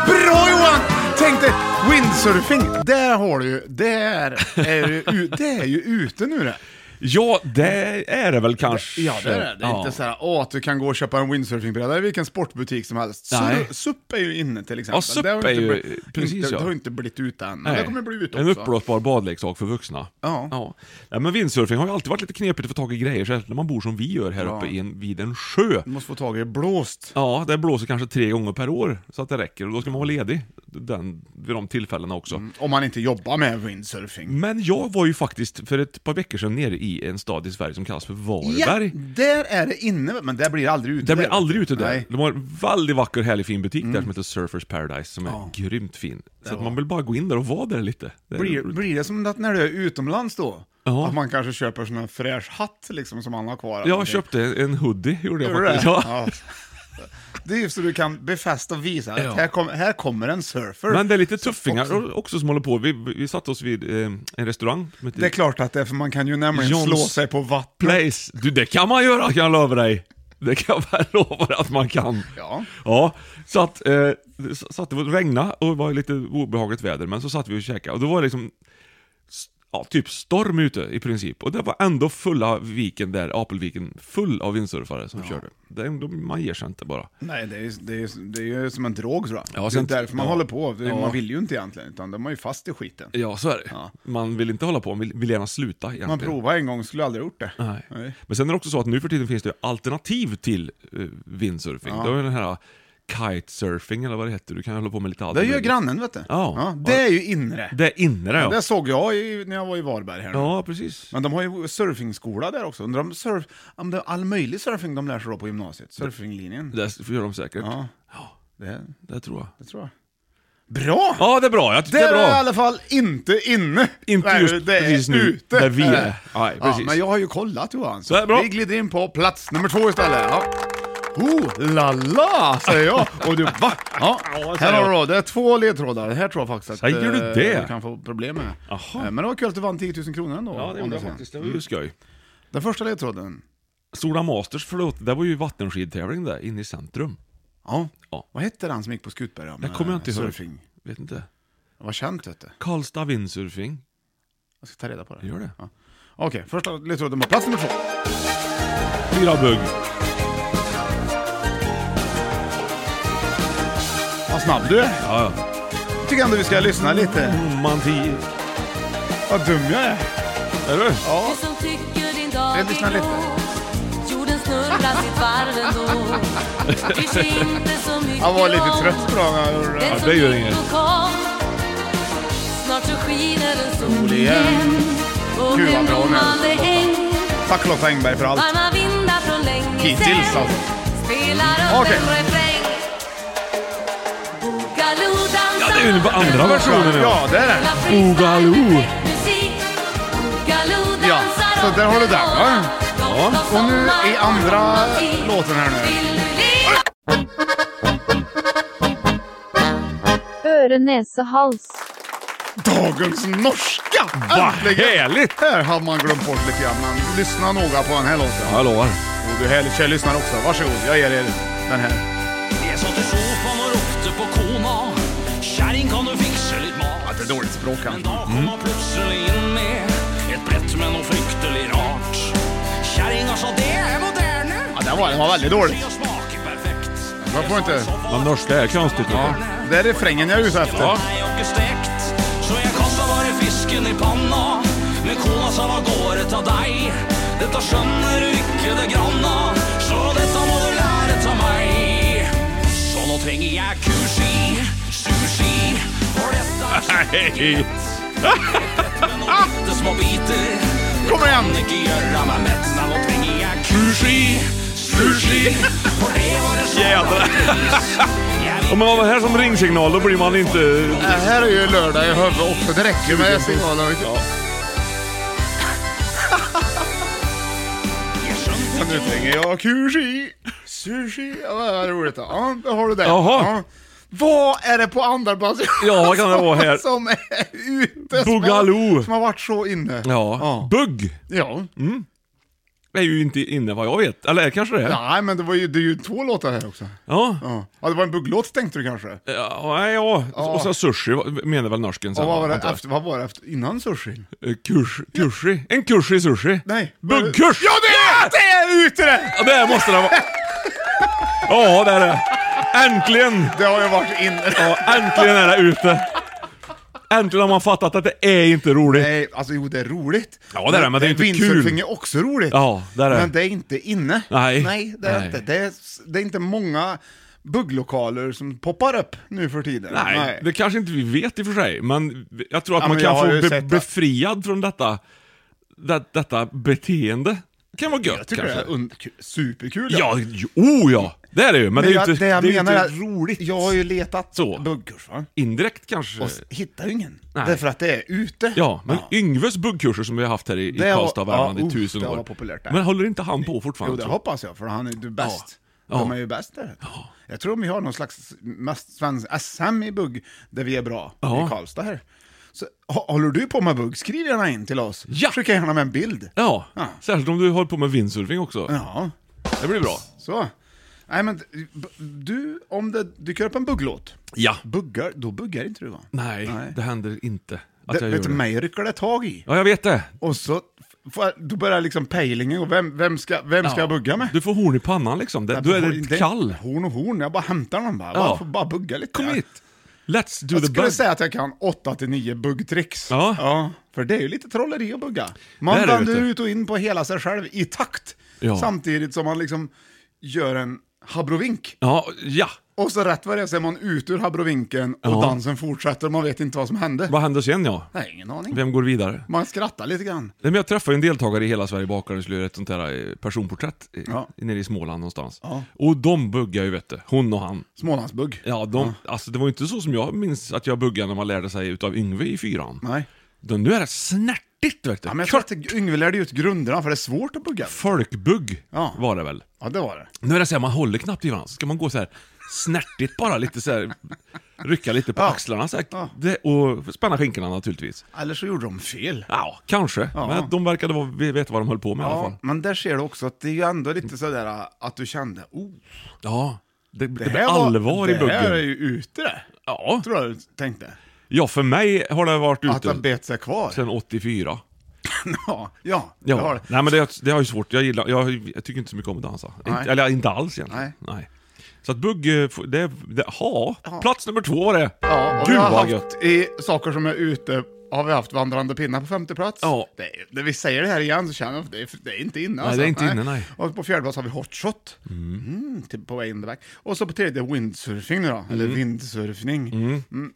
Speaker 1: Bra Johan! Tänk dig, <laughs> windsurfing, där har du ju, där är du, det är ju ute nu det.
Speaker 2: Ja, det är det väl kanske.
Speaker 1: Ja, det är det. Det är inte så här, åh, att du kan gå och köpa en windsurfingbräda i vilken sportbutik som helst.
Speaker 2: Nej.
Speaker 1: Sur- SUP är ju inne till exempel.
Speaker 2: Ja, SUP
Speaker 1: Det har
Speaker 2: är ju-
Speaker 1: bli-
Speaker 2: precis,
Speaker 1: inte,
Speaker 2: ja.
Speaker 1: Det har ju inte blivit ut än. Men
Speaker 2: Nej.
Speaker 1: Det kommer bli ut också.
Speaker 2: En uppblåsbar badleksak för vuxna.
Speaker 1: Ja.
Speaker 2: Nej, men windsurfing har ju alltid varit lite knepigt att få tag i grejer, särskilt när man bor som vi gör här uppe i en, vid en sjö.
Speaker 1: Du måste få tag i blåst.
Speaker 2: Ja, det blåser kanske tre gånger per år, så att det räcker. Och då ska man vara ledig den, vid de tillfällena också.
Speaker 1: Om man inte jobbar med windsurfing.
Speaker 2: Men jag var ju faktiskt för ett par veckor sedan nere i en stad i Sverige som kallas för Varberg.
Speaker 1: där är det inne, men där blir det aldrig ute.
Speaker 2: Den blir aldrig ute där.
Speaker 1: Nej. Mm.
Speaker 2: De har en väldigt vacker, härlig, fin butik där som heter Surfers Paradise, som är grymt fin. Så att man vill bara gå in där och vara där lite. Det är
Speaker 1: Blir,
Speaker 2: roligt.
Speaker 1: blir det som att när du är utomlands då?
Speaker 2: Ja.
Speaker 1: Att man kanske köper sån här fräsch hatt liksom som man har kvar.
Speaker 2: Jag köpte en hoodie, gjorde jag
Speaker 1: Gjorde du det?
Speaker 2: faktiskt. Ja.
Speaker 1: Ja. Det är ju så du kan befästa och visa att
Speaker 2: Ja.
Speaker 1: här, kom, här kommer en surfer.
Speaker 2: Men det är lite
Speaker 1: Som
Speaker 2: tuffingar
Speaker 1: också-
Speaker 2: också. som håller på. Vi, vi satte oss vid eh, en restaurang som heter
Speaker 1: Det är klart att det är, för man kan ju nämligen
Speaker 2: Johns
Speaker 1: slå sig på vattnet.
Speaker 2: Place. Du, det kan man göra kan jag lova dig. Det kan jag lova dig att man kan.
Speaker 1: Ja.
Speaker 2: Ja, så att, eh, s- satt det och regnade och det var lite obehagligt väder, men så satt vi och käkade och då var det liksom s- Ja, typ storm ute i princip. Och det var ändå fulla viken där, Apelviken, full av vindsurfare som körde. Det, är- de, man ger sig inte bara.
Speaker 1: Nej, det är, ju- det, är, det är ju som en drog tror jag.
Speaker 2: Ja,
Speaker 1: det är
Speaker 2: sen-
Speaker 1: därför man
Speaker 2: ja.
Speaker 1: håller på. Det-
Speaker 2: Ja.
Speaker 1: Man vill ju inte egentligen, utan de är ju fast i skiten.
Speaker 2: Ja, så är det.
Speaker 1: Ja.
Speaker 2: Man vill inte hålla på, man vill, vill gärna sluta egentligen.
Speaker 1: Man provar en gång, skulle aldrig gjort det.
Speaker 2: Nej. Men sen är det också så att nu för tiden finns det ju alternativ till eh, windsurfing. Det är ju den här uh, kitesurfing eller vad det heter. Du kan hålla på med lite allt.
Speaker 1: Det gör
Speaker 2: möjligt.
Speaker 1: grannen, vet du.
Speaker 2: Ja.
Speaker 1: det är ju inre.
Speaker 2: Det är inne det ja.
Speaker 1: Det såg jag i, när jag var i Varberg här nu.
Speaker 2: Ja, precis.
Speaker 1: Men de har ju surfingskola där också. Undrar om, surf, om det är all möjlig surfing de lär sig då på gymnasiet? Surfinglinjen?
Speaker 2: Det s- gör de säkert.
Speaker 1: Ja.
Speaker 2: Ja,
Speaker 1: Det,
Speaker 2: det tror jag.
Speaker 1: det tror jag. Bra!
Speaker 2: Ja, det är bra. Jag tycker det
Speaker 1: Där
Speaker 2: är
Speaker 1: är jag i
Speaker 2: bra.
Speaker 1: alla fall inte inne.
Speaker 2: Inte
Speaker 1: Nej,
Speaker 2: just
Speaker 1: det är
Speaker 2: precis nu,
Speaker 1: ute.
Speaker 2: där vi är. Nej,
Speaker 1: Ja,
Speaker 2: precis.
Speaker 1: men jag har ju kollat Johan, så
Speaker 2: Det är bra.
Speaker 1: vi glider in på plats nummer två istället. Ja. Oh, la la, säger jag. Och du, va? Ja,
Speaker 2: Ja, säger
Speaker 1: här har du
Speaker 2: jag.
Speaker 1: då. Det är två ledtrådar. Det här tror jag faktiskt att
Speaker 2: Säger du
Speaker 1: eh,
Speaker 2: det?
Speaker 1: du kan få problem med.
Speaker 2: Aha.
Speaker 1: Eh, Men det var kul att du vann 10 000 kronor ändå.
Speaker 2: Ja, det gjorde
Speaker 1: Anders.
Speaker 2: jag faktiskt. Det var ju Mm, skoj.
Speaker 1: Den första ledtråden.
Speaker 2: Stora Masters, förlåt, det var ju vattenskidtävling där, inne i centrum.
Speaker 1: Ja.
Speaker 2: Ja.
Speaker 1: Vad hette han som gick på Skutberga?
Speaker 2: Det kommer jag inte ihåg.
Speaker 1: Surfing.
Speaker 2: Vet inte.
Speaker 1: Det var känt vet du.
Speaker 2: Karlstad Windsurfing.
Speaker 1: Jag ska ta reda på det.
Speaker 2: Gör det.
Speaker 1: Ja. Okej, första ledtråden på plats nummer två.
Speaker 2: Fyra bugg.
Speaker 1: Vad snabb du är.
Speaker 2: Ja, ja.
Speaker 1: Jag tycker ändå vi ska lyssna lite.
Speaker 2: Romantik.
Speaker 1: Vad dum jag är.
Speaker 2: Är du?
Speaker 1: Ja. Jag lyssnar lite. Han var lite trött på dagen han gjorde det.
Speaker 2: Ja, det gör inget.
Speaker 1: Sol igen. Gud vad bra hon är. Tack Lotta Engberg för allt. Hittills alltså. Okej.
Speaker 2: Ja, det är ju den andra versionen nu.
Speaker 1: Ja, det är den.
Speaker 2: Boogaloo.
Speaker 1: Ja, så där har du den va?
Speaker 2: Ja.
Speaker 1: Och nu i andra låten här nu.
Speaker 8: Øre, nese, hals.
Speaker 1: Dagens norska!
Speaker 2: Vad härligt!
Speaker 1: Här har man glömt bort lite grann, men lyssna noga på den här låten.
Speaker 2: Ja, jag lovar.
Speaker 1: Och du härlig tjej lyssnar också. Varsågod, jag ger er den här.
Speaker 3: Jeg satt i sofaen og ropte på kona. Kjerring, kan du fikse litt
Speaker 1: Ja, det
Speaker 3: mat?
Speaker 1: är dåligt språk
Speaker 3: Men
Speaker 1: han.
Speaker 3: da kom han plutselig inn med et brett med noe fryktelig rart. Kjerringa sa det er moderne.
Speaker 1: Ja, den var, den var väldigt dålig.
Speaker 3: Det smaker perfekt.
Speaker 1: Jag får inte...
Speaker 2: Men norska är konstigt. Ja.
Speaker 1: Det är refrängen jag är ute efter.
Speaker 2: Ja.
Speaker 3: Nei, og ikke stekt. Så jeg kasta bare fisken i panna. Men kona sa hva går det av deg? Dette skjønner du ikke det granna. Så dette må du lære av meg. Så nå trenger jeg kurs i sushi. For dette er så
Speaker 2: Hej!
Speaker 3: med noen bitte små biter.
Speaker 1: Kom igen!
Speaker 3: Kan ikke gjøre meg mett, men nå trenger jeg kurs i sushi. For det var en sånn
Speaker 2: Jädrar. Om man var här som ringsignal, då blir man inte...
Speaker 1: Det här är ju lördag i huvudet också. Det räcker med signalen. Ja, nu slänger jag kushi, sushi. Ja, vad roligt. Då. Ja, då har du det.
Speaker 2: Jaha.
Speaker 1: Ja. Vad är det på andra plats
Speaker 2: Ja, vad kan det vara
Speaker 1: <laughs>
Speaker 2: här?
Speaker 1: som är ute? som
Speaker 2: Boogaloo.
Speaker 1: har- Som har varit så inne.
Speaker 2: Ja. Bugg!
Speaker 1: Ja.
Speaker 2: är ju inte inne vad jag vet. Eller är kanske det? Ja.
Speaker 1: Nej, men det, var ju, det är ju två låtar här också.
Speaker 2: Ja.
Speaker 1: Ja, ja det var en bugglåt tänkte du kanske?
Speaker 2: Ja, nej, ja. Och sen sushi menar väl norsken sen?
Speaker 1: Och vad, var det
Speaker 2: antar jag.
Speaker 1: efter, vad var det efter, innan sushin?
Speaker 2: Eh, Kurs, kursi. En kurs i sushi.
Speaker 1: Nej.
Speaker 2: Buggkurs!
Speaker 1: Ja, det är det! är ute det!
Speaker 2: Ja, det måste det vara. Ja, det är det. Äntligen!
Speaker 1: Det har ju varit inne.
Speaker 2: Ja, äntligen är det ute. Äntligen har man fattat att det är inte roligt.
Speaker 1: <laughs> Nej, alltså jo det är roligt.
Speaker 2: Ja, det är det, men det är inte kul.
Speaker 1: Windsurfing är också roligt.
Speaker 2: Ja, det är det.
Speaker 1: Men det är inte inne.
Speaker 2: Nej.
Speaker 1: Nej, det är
Speaker 2: Nej.
Speaker 1: inte. Det är, det är inte många bugglokaler som poppar upp nu för tiden.
Speaker 2: Nej, det kanske inte vi vet i och för sig, men jag tror att
Speaker 1: Ja,
Speaker 2: man
Speaker 1: men
Speaker 2: kan
Speaker 1: jag har ju
Speaker 2: få be
Speaker 1: sett det.
Speaker 2: befriad från detta, det, detta beteende. Det kan vara
Speaker 1: Jag
Speaker 2: gött
Speaker 1: tycker
Speaker 2: kanske.
Speaker 1: det är un- ku- superkul.
Speaker 2: Ja, jo, oh ja! Det är det ju, men, det är
Speaker 1: jag,
Speaker 2: ju
Speaker 1: det
Speaker 2: inte, det
Speaker 1: jag
Speaker 2: är ju
Speaker 1: menar
Speaker 2: inte
Speaker 1: är att
Speaker 2: roligt.
Speaker 1: Jag har ju letat
Speaker 2: Så.
Speaker 1: buggkurs va?
Speaker 2: Indirekt kanske.
Speaker 1: Och s- hittar ju ingen.
Speaker 2: Nej.
Speaker 1: Därför att det är ute.
Speaker 2: Ja, men Yngves buggkurser som vi har haft här i, i
Speaker 1: Det var-
Speaker 2: Karlstad, Värmland,
Speaker 1: ja,
Speaker 2: i
Speaker 1: uff,
Speaker 2: tusen
Speaker 1: det
Speaker 2: år.
Speaker 1: var populärt där.
Speaker 2: men håller inte han på fortfarande?
Speaker 1: Jo, det
Speaker 2: tror jag?
Speaker 1: hoppas jag, för han är ju bäst.
Speaker 2: Ja.
Speaker 1: De är ju bäst där. Jag tror vi har någon slags mest svensk SM i bugg, där vi är bra,
Speaker 2: Ja.
Speaker 1: i Karlstad här. Så, hå- håller du på med bugg, skriv gärna in till oss.
Speaker 2: Ja.
Speaker 1: Skicka gärna med en bild.
Speaker 2: Ja,
Speaker 1: Ja.
Speaker 2: särskilt om du håller på med windsurfing också.
Speaker 1: Ja,
Speaker 2: Det blir bra.
Speaker 1: så. Nej men, b- du, om det dyker upp en bugglåt,
Speaker 2: Ja.
Speaker 1: buggar, då buggar inte du va?
Speaker 2: Nej, det händer inte att
Speaker 1: det,
Speaker 2: jag gör
Speaker 1: vet du,
Speaker 2: det.
Speaker 1: mig rycker det tag i.
Speaker 2: Ja, jag vet det.
Speaker 1: Och så, f- får jag- då börjar liksom pejlingen, och vem, vem, ska, vem ska jag bugga med?
Speaker 2: Du får horn i pannan liksom. Det, du är
Speaker 1: Det- det-
Speaker 2: det kall.
Speaker 1: Horn och horn, jag bara hämtar någon bara.
Speaker 2: Ja.
Speaker 1: Bara, får bara bugga lite.
Speaker 2: Kom hit. Let's do
Speaker 1: Jag
Speaker 2: the
Speaker 1: skulle
Speaker 2: bug.
Speaker 1: säga att jag kan 8-9 buggtricks.
Speaker 2: Ja.
Speaker 1: För det är ju lite trolleri att bugga.
Speaker 2: Det
Speaker 1: Man
Speaker 2: är det,
Speaker 1: vänder
Speaker 2: vet du.
Speaker 1: ut och in på hela sig själv i takt.
Speaker 2: Ja.
Speaker 1: Samtidigt som man liksom gör en habrovink.
Speaker 2: Ja, ja.
Speaker 1: Och så rätt vad det är så är man ut ur habrovinken och dansen fortsätter och man vet inte vad som hände.
Speaker 2: Vad händer sen ja?
Speaker 1: Nej, ingen aning.
Speaker 2: Vem går vidare?
Speaker 1: Man skrattar lite grann.
Speaker 2: Nej, men jag träffade en deltagare i Hela Sverige bakar och skulle göra ett sånt här eh, personporträtt i,
Speaker 1: Ja.
Speaker 2: nere i Småland någonstans.
Speaker 1: Ja.
Speaker 2: Och de buggar ju vet du, hon och han.
Speaker 1: Smålandsbugg.
Speaker 2: Ja, de, Alltså det var ju inte så som jag minns att jag buggade när man lärde sig utav Yngve i fyran.
Speaker 1: Nej.
Speaker 2: De, nu är det snärtigt vet du.
Speaker 1: Ja, men jag tror
Speaker 2: Kört
Speaker 1: att Yngve lärde ut grunderna för det är svårt att bugga.
Speaker 2: folkbugg
Speaker 1: Ja.
Speaker 2: var det väl.
Speaker 1: Ja, det var det.
Speaker 2: Nu är det så här, man håller knappt i varandra, så ska man gå så här snärtigt bara, lite så här, rycka lite på axlarna så här, det, och spänna skinkorna naturligtvis.
Speaker 1: Eller så gjorde de fel.
Speaker 2: Ja, kanske.
Speaker 1: Ja.
Speaker 2: Men de verkade vara, vi vet vad de höll på med i alla fall.
Speaker 1: men där ser du också att det är ju ändå lite sådär äh, att du kände, oh,
Speaker 2: Ja, det, det,
Speaker 1: här
Speaker 2: blir
Speaker 1: var-
Speaker 2: Typ allvar i
Speaker 1: Det här är
Speaker 2: buggen.
Speaker 1: ju ute det.
Speaker 2: Ja.
Speaker 1: Tror jag du tänkte.
Speaker 2: ja, för mig har det varit
Speaker 1: Att den
Speaker 2: ute
Speaker 1: bet sig kvar.
Speaker 2: sedan 84.
Speaker 1: <laughs> ja, ja. det har
Speaker 2: Ja.
Speaker 1: det.
Speaker 2: Nej men det, det har ju svårt, jag gillar, jag, jag tycker inte så mycket om att dansa.
Speaker 1: Nej.
Speaker 2: Inte, eller inte alls egentligen. Nej. Så att bugg, eh, f- det, det ha, plats nummer två var det.
Speaker 1: Ja, och
Speaker 2: Gud
Speaker 1: vi har
Speaker 2: vad
Speaker 1: haft
Speaker 2: gött.
Speaker 1: i saker som är ute, har vi haft vandrande pinnar på femte plats.
Speaker 2: Ja.
Speaker 1: Det, är- när vi säger det här igen så känner jag att det är, det är inte inne. alltså.
Speaker 2: Nej, det är inte inne, nej.
Speaker 1: Och på fjärde plats har vi hot shot. Mm. till, på väg in the back. Och så på tredje windsurfing nu då, eller vindsurfning. Mm.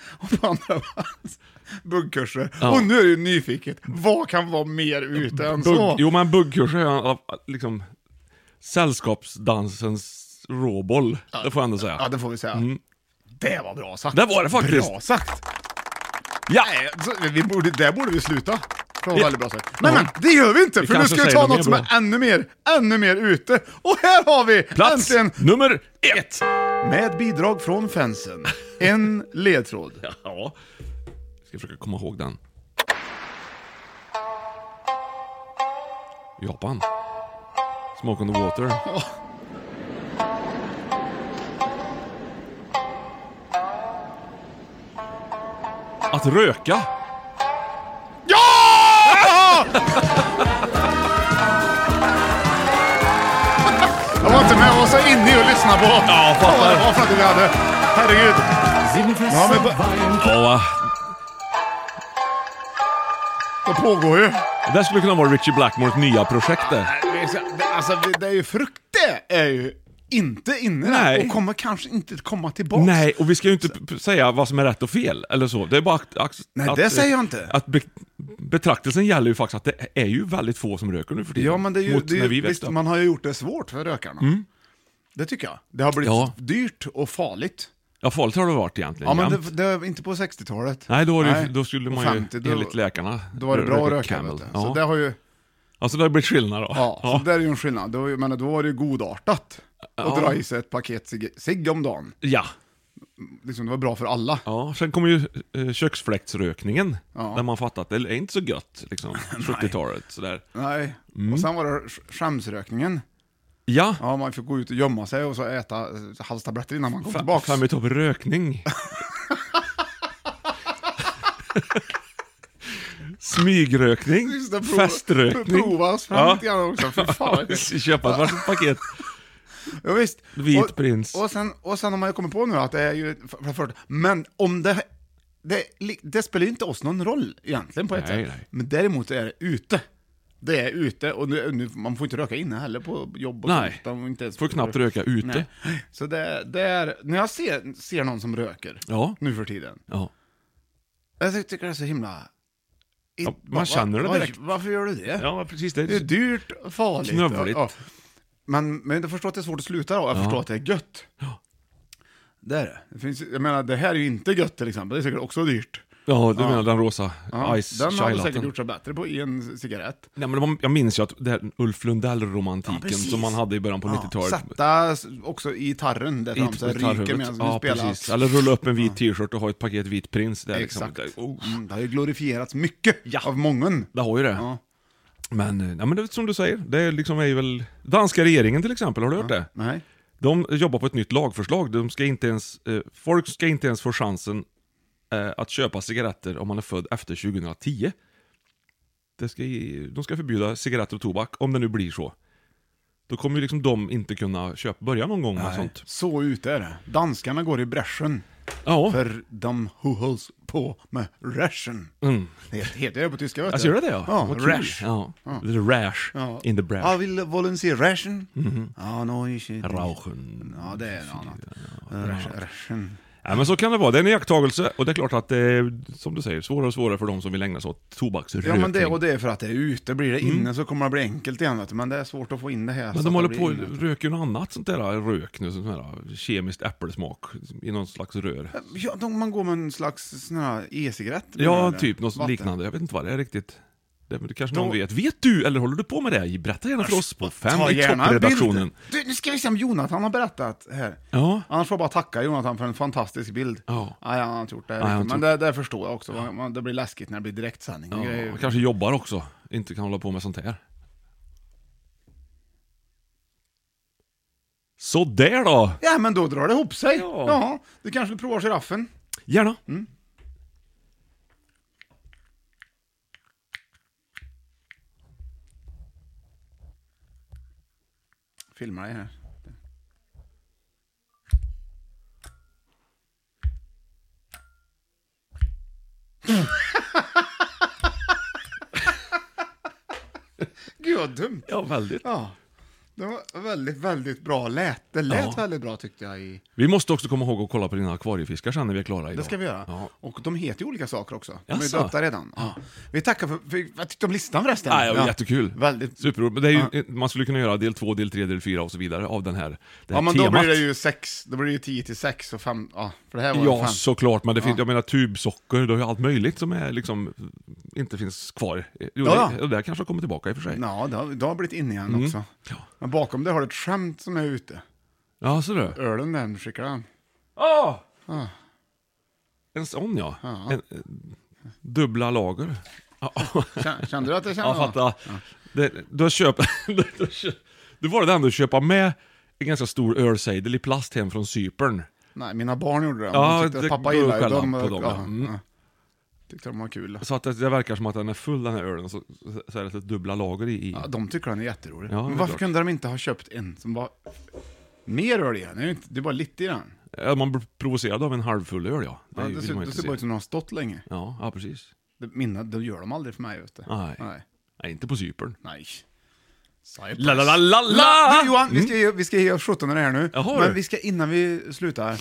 Speaker 1: <laughs> och på andra plats, buggkurser. Och nu är det ju nyfiket, vad kan vara mer ute än så?
Speaker 2: Bugg, jo men buggkurser är en- liksom sällskapsdansens råboll, det får jag ändå säga.
Speaker 1: Ja, det får vi säga. Det var bra sagt.
Speaker 2: Mm. Det var det faktiskt.
Speaker 1: Bra sagt.
Speaker 2: Ja!
Speaker 1: Nej, så vi borde, där borde vi sluta. Det var
Speaker 2: Ja.
Speaker 1: väldigt bra sagt. Men,
Speaker 2: Ja.
Speaker 1: men det gör vi inte,
Speaker 2: Vi
Speaker 1: för nu
Speaker 2: kanske
Speaker 1: ska vi ta
Speaker 2: säger något mer
Speaker 1: något som
Speaker 2: bra.
Speaker 1: är ännu mer, ännu mer ute. Och här har vi
Speaker 2: Plats
Speaker 1: äntligen,
Speaker 2: nummer ett!
Speaker 1: med bidrag från fansen, en ledtråd.
Speaker 2: Ja. Jag ska försöka komma ihåg den. Japan. Smoke on the water. Att röka!
Speaker 1: Ja! Jag var inte med, jag var så inne i och lyssnade på
Speaker 2: Ja, fattar.
Speaker 1: vad det var för att vi hade. Herregud. Ja, men på-
Speaker 2: Ja, va?
Speaker 1: det pågår ju.
Speaker 2: det där skulle kunna vara Richie Blackmores nya projekt det.
Speaker 1: Nej, men så- det- Alltså det- det är ju frukt det är ju inte inne där
Speaker 2: Nej.
Speaker 1: och kommer kanske inte komma tillbaks.
Speaker 2: Nej, och vi ska ju inte p- p- säga vad som är rätt och fel, eller så. Det är bara att... att
Speaker 1: Nej,
Speaker 2: att,
Speaker 1: det säger jag inte.
Speaker 2: Att be, betraktelsen gäller ju faktiskt att det är ju väldigt få som röker nu för tiden.
Speaker 1: Ja men det är ju,
Speaker 2: mot
Speaker 1: det är
Speaker 2: när
Speaker 1: ju
Speaker 2: vi växte
Speaker 1: visst,
Speaker 2: upp. Mm.
Speaker 1: man har ju gjort det svårt för rökarna. Det tycker jag. Det har blivit
Speaker 2: Ja.
Speaker 1: dyrt och farligt.
Speaker 2: Ja, farligt har det varit egentligen.
Speaker 1: Ja men
Speaker 2: jämt.
Speaker 1: det, det är inte på 60-talet.
Speaker 2: Nej, då, är det,
Speaker 1: Nej.
Speaker 2: ju- då skulle
Speaker 1: Och
Speaker 2: man ju
Speaker 1: 50, då-
Speaker 2: enligt läkarna
Speaker 1: Då var det bra att röka.
Speaker 2: Camel.
Speaker 1: Vet du.
Speaker 2: Ja.
Speaker 1: Så det har ju,
Speaker 2: Alltså det har blivit skillnad då?
Speaker 1: ja, Så det är ju en skillnad. Då, men då var det ju godartat att
Speaker 2: Ja.
Speaker 1: dra i sig ett paket cigg cigg om dagen.
Speaker 2: Ja.
Speaker 1: liksom, det var bra för alla.
Speaker 2: Ja, sen kommer ju eh, köksfläktsrökningen.
Speaker 1: Ja.
Speaker 2: Där man fattar att det är inte så gött,
Speaker 1: <laughs>
Speaker 2: liksom. 70-talet sådär.
Speaker 1: Nej.
Speaker 2: Mm.
Speaker 1: Och sen var det sk- skämsrökningen.
Speaker 2: Ja,
Speaker 1: Ja, man fick gå ut och gömma sig och så äta eh, halstabletter innan man kom
Speaker 2: fa-
Speaker 1: tillbaka.
Speaker 2: fram i topp rökning. Smygrökning,
Speaker 1: <laughs> Just det, prova-
Speaker 2: feströkning.
Speaker 1: Prova oss fram
Speaker 2: Ja.
Speaker 1: lite grann också, för
Speaker 2: <laughs>
Speaker 1: fan.
Speaker 2: Köpa ett varsitt paket.
Speaker 1: Ja, visst.
Speaker 2: Vit
Speaker 1: och,
Speaker 2: prins.
Speaker 1: Och sen, och sen har man ju kommit på nu att det är ju... För, för, för, men om det... Det, det spelar ju inte oss någon roll egentligen på ett
Speaker 2: Nej,
Speaker 1: sätt.
Speaker 2: nej.
Speaker 1: Men däremot är det ute. Det är ute och nu, nu, man får inte röka inne heller på jobb och
Speaker 2: Nej.
Speaker 1: sånt, utan inte ens-
Speaker 2: Får knappt röka ute.
Speaker 1: Nej. Så det, det är... När jag ser, ser någon som röker
Speaker 2: Ja.
Speaker 1: nu för tiden,
Speaker 2: Ja.
Speaker 1: jag ty- tycker det är så himla...
Speaker 2: Ja, man
Speaker 1: va- va-
Speaker 2: känner det
Speaker 1: oj,
Speaker 2: direkt.
Speaker 1: Varför gör du det?
Speaker 2: ja, precis. Det
Speaker 1: Det är
Speaker 2: är
Speaker 1: dyrt, och farligt.
Speaker 2: Knövligt.
Speaker 1: Ja. Men, men jag förstår att det är svårt att sluta då, jag förstår att det är gött. Det är det. det finns, jag menar, det här är ju inte gött till exempel, det är säkert också dyrt.
Speaker 2: Ja, du menar den rosa
Speaker 1: Ja,
Speaker 2: ice
Speaker 1: den hade
Speaker 2: chai-latten.
Speaker 1: säkert gjort sig bättre på i en cigarett.
Speaker 2: Nej, men det var- jag minns ju att det här Ulf Lundell-romantiken
Speaker 1: Ja, precis.
Speaker 2: som man hade i början på
Speaker 1: Ja,
Speaker 2: 90-talet.
Speaker 1: Sätta s- också i tarren där
Speaker 2: I-
Speaker 1: fram så det
Speaker 2: på gitarrhuvudet.
Speaker 1: ryker medan
Speaker 2: ja,
Speaker 1: du spelar.
Speaker 2: precis. Eller rulla upp en vit t-shirt och ha ett paket vit prins där liksom.
Speaker 1: Exakt.
Speaker 2: Det- oh.
Speaker 1: Mm, det har ju glorifierats mycket
Speaker 2: Ja.
Speaker 1: av många.
Speaker 2: Det har ju det.
Speaker 1: Ja.
Speaker 2: Men, eh, ja, men det är som du säger, det är liksom är ju väl... Danska regeringen till exempel, har du hört det?
Speaker 1: Nej.
Speaker 2: De jobbar på ett nytt lagförslag. De ska inte ens, eh, folk ska inte ens få chansen eh, att köpa cigaretter om man är född efter 2010. Det ska, ge- de ska förbjuda cigaretter och tobak, om det nu blir så. Då kommer ju liksom de inte kunna köpa, börja någon gång med
Speaker 1: Nej.
Speaker 2: sånt.
Speaker 1: Så ute är det. Danskarna går i bräschen.
Speaker 2: Ja,
Speaker 1: För de who hålls på med räschen. Det heter det på tyska vet du.
Speaker 2: alltså gör det det Mm. ja?
Speaker 1: Ja,
Speaker 2: Vad kul.
Speaker 1: rash.
Speaker 2: Ja. The rash
Speaker 1: Ja.
Speaker 2: in the Mhm. brash.
Speaker 1: Ja, vill wollen se räschen? Ja, no, ich...
Speaker 2: Rauchen.
Speaker 1: Ja, det är Eh, något annat. Rash- Räschen.
Speaker 2: Ja, men så kan det vara. Det är en iakttagelse och det är klart att det är, som du säger, svårare och svårare för de som vill ägna sig åt tobaksrökning.
Speaker 1: Ja, men det, och det är för att det är ute. Blir det inne så kommer det bli enkelt igen vet du. Men det är svårt att få in det här. så
Speaker 2: Mm. Men
Speaker 1: att
Speaker 2: de
Speaker 1: det
Speaker 2: håller
Speaker 1: blir
Speaker 2: på
Speaker 1: inne.
Speaker 2: och röker ju något annat sånt där rök nu, sånt där kemiskt äppelsmak i någon slags rör.
Speaker 1: Eh, Ja, de, man går med en slags sån här e-cigarett.
Speaker 2: Ja,
Speaker 1: Eller
Speaker 2: typ något
Speaker 1: vatten.
Speaker 2: liknande. Jag vet inte vad det är riktigt. Det, men det kanske någon
Speaker 1: Då-
Speaker 2: vet. Vet du, eller håller du på med det? Berätta gärna för oss på
Speaker 1: Ta
Speaker 2: fem i
Speaker 1: gärna
Speaker 2: toppredaktionen.
Speaker 1: bild. Du, nu ska vi se om Jonathan har berättat här.
Speaker 2: Ja.
Speaker 1: Annars får jag bara tacka Jonathan för en fantastisk bild.
Speaker 2: Ja.
Speaker 1: Nej, han har inte gjort det.
Speaker 2: han har
Speaker 1: riktigt.
Speaker 2: inte
Speaker 1: men det, det förstår jag också. Man, det blir läskigt när det blir direktsändning. och grejer.
Speaker 2: Ja, kanske jobbar också, inte kan hålla på med sånt här. Så där då!
Speaker 1: Ja, men då drar det ihop sig. Ja.
Speaker 2: Ja.
Speaker 1: du kanske provar giraffen.
Speaker 2: Gärna!
Speaker 1: Mm. Filma dig här. <laughs> Gud vad dumt.
Speaker 2: Ja, väldigt.
Speaker 1: Ja. Det var väldigt, väldigt bra lät. Det lät
Speaker 2: Ja.
Speaker 1: väldigt bra tyckte jag. I...
Speaker 2: Vi måste också komma ihåg att kolla på dina akvariefiskar sen när vi är klara idag.
Speaker 1: Det ska vi göra.
Speaker 2: Ja.
Speaker 1: Och de heter ju olika saker också. De är
Speaker 2: Jaså?
Speaker 1: döpta redan. Ja. Vi tackar för, för... Vad tyckte du om listan förresten?
Speaker 2: Ah, Ja, det var jättekul.
Speaker 1: Väldigt...
Speaker 2: Superroligt. Men det är ju,
Speaker 1: Ja.
Speaker 2: Man skulle kunna göra del två, del tre, del fyra och så vidare av den här, det här
Speaker 1: Ja, men
Speaker 2: temat.
Speaker 1: då blir det ju sex. Då blir det ju 10 till 6 och 5. Ja, för det här var ju
Speaker 2: Ja,
Speaker 1: fem.
Speaker 2: såklart. Men det finns, jag menar tubsocker, du har ju allt möjligt som är liksom, inte finns kvar. Jo,
Speaker 1: Ja.
Speaker 2: det, och det här kanske kommer tillbaka i och för sig.
Speaker 1: Ja, det har, det har blivit inne igen också.
Speaker 2: Mm. Ja.
Speaker 1: Men bakom det har du ett skämt som är ute.
Speaker 2: Ja, så du.
Speaker 1: Ölen där, nu skickar den.
Speaker 2: Åh!
Speaker 1: Ah.
Speaker 2: En sån ja. En, eh,
Speaker 1: <laughs>
Speaker 2: dubbla lager. Ja,
Speaker 1: Kän- <laughs> Kände du att det
Speaker 2: jag
Speaker 1: kändes?
Speaker 2: fattar. Det, du har köpt... <laughs> du har köpt- du var det ändå att köpa med en ganska stor ölsejdel i plast hem från Cypern.
Speaker 1: Nej, mina barn gjorde det. De
Speaker 2: Ja,
Speaker 1: tyckte att
Speaker 2: det
Speaker 1: pappa
Speaker 2: går
Speaker 1: gillade det.
Speaker 2: skälla
Speaker 1: De,
Speaker 2: på dem,
Speaker 1: ja,
Speaker 2: ja. Mm.
Speaker 1: ja. Tyckte de var kul.
Speaker 2: Så att det, det verkar som att den är full den här ölen, så, så är det ett dubbla lager i. i.
Speaker 1: Ja, de tycker den är jätterolig.
Speaker 2: Ja, det
Speaker 1: men
Speaker 2: är
Speaker 1: varför
Speaker 2: klart.
Speaker 1: kunde de inte ha köpt en som var mer öl i den? Det är ju inte- det är bara lite i den.
Speaker 2: Ja, Man blir provocerad av en halvfull öl ja. Det,
Speaker 1: Ja,
Speaker 2: vill
Speaker 1: det ser,
Speaker 2: man
Speaker 1: det
Speaker 2: inte
Speaker 1: ser bara ut
Speaker 2: se.
Speaker 1: som de har stått länge.
Speaker 2: Ja, ja, precis.
Speaker 1: Det, mina, det gör de aldrig för mig, vet du.
Speaker 2: Nej.
Speaker 1: Nej.
Speaker 2: Nej, inte på Cypern.
Speaker 1: Nej.
Speaker 2: La, la, la, la, la!
Speaker 1: Du Johan, vi ska ge, vi ska ge oss 17 det här nu.
Speaker 2: Mm. Jaha,
Speaker 1: men
Speaker 2: du. Mm.
Speaker 1: vi ska innan vi slutar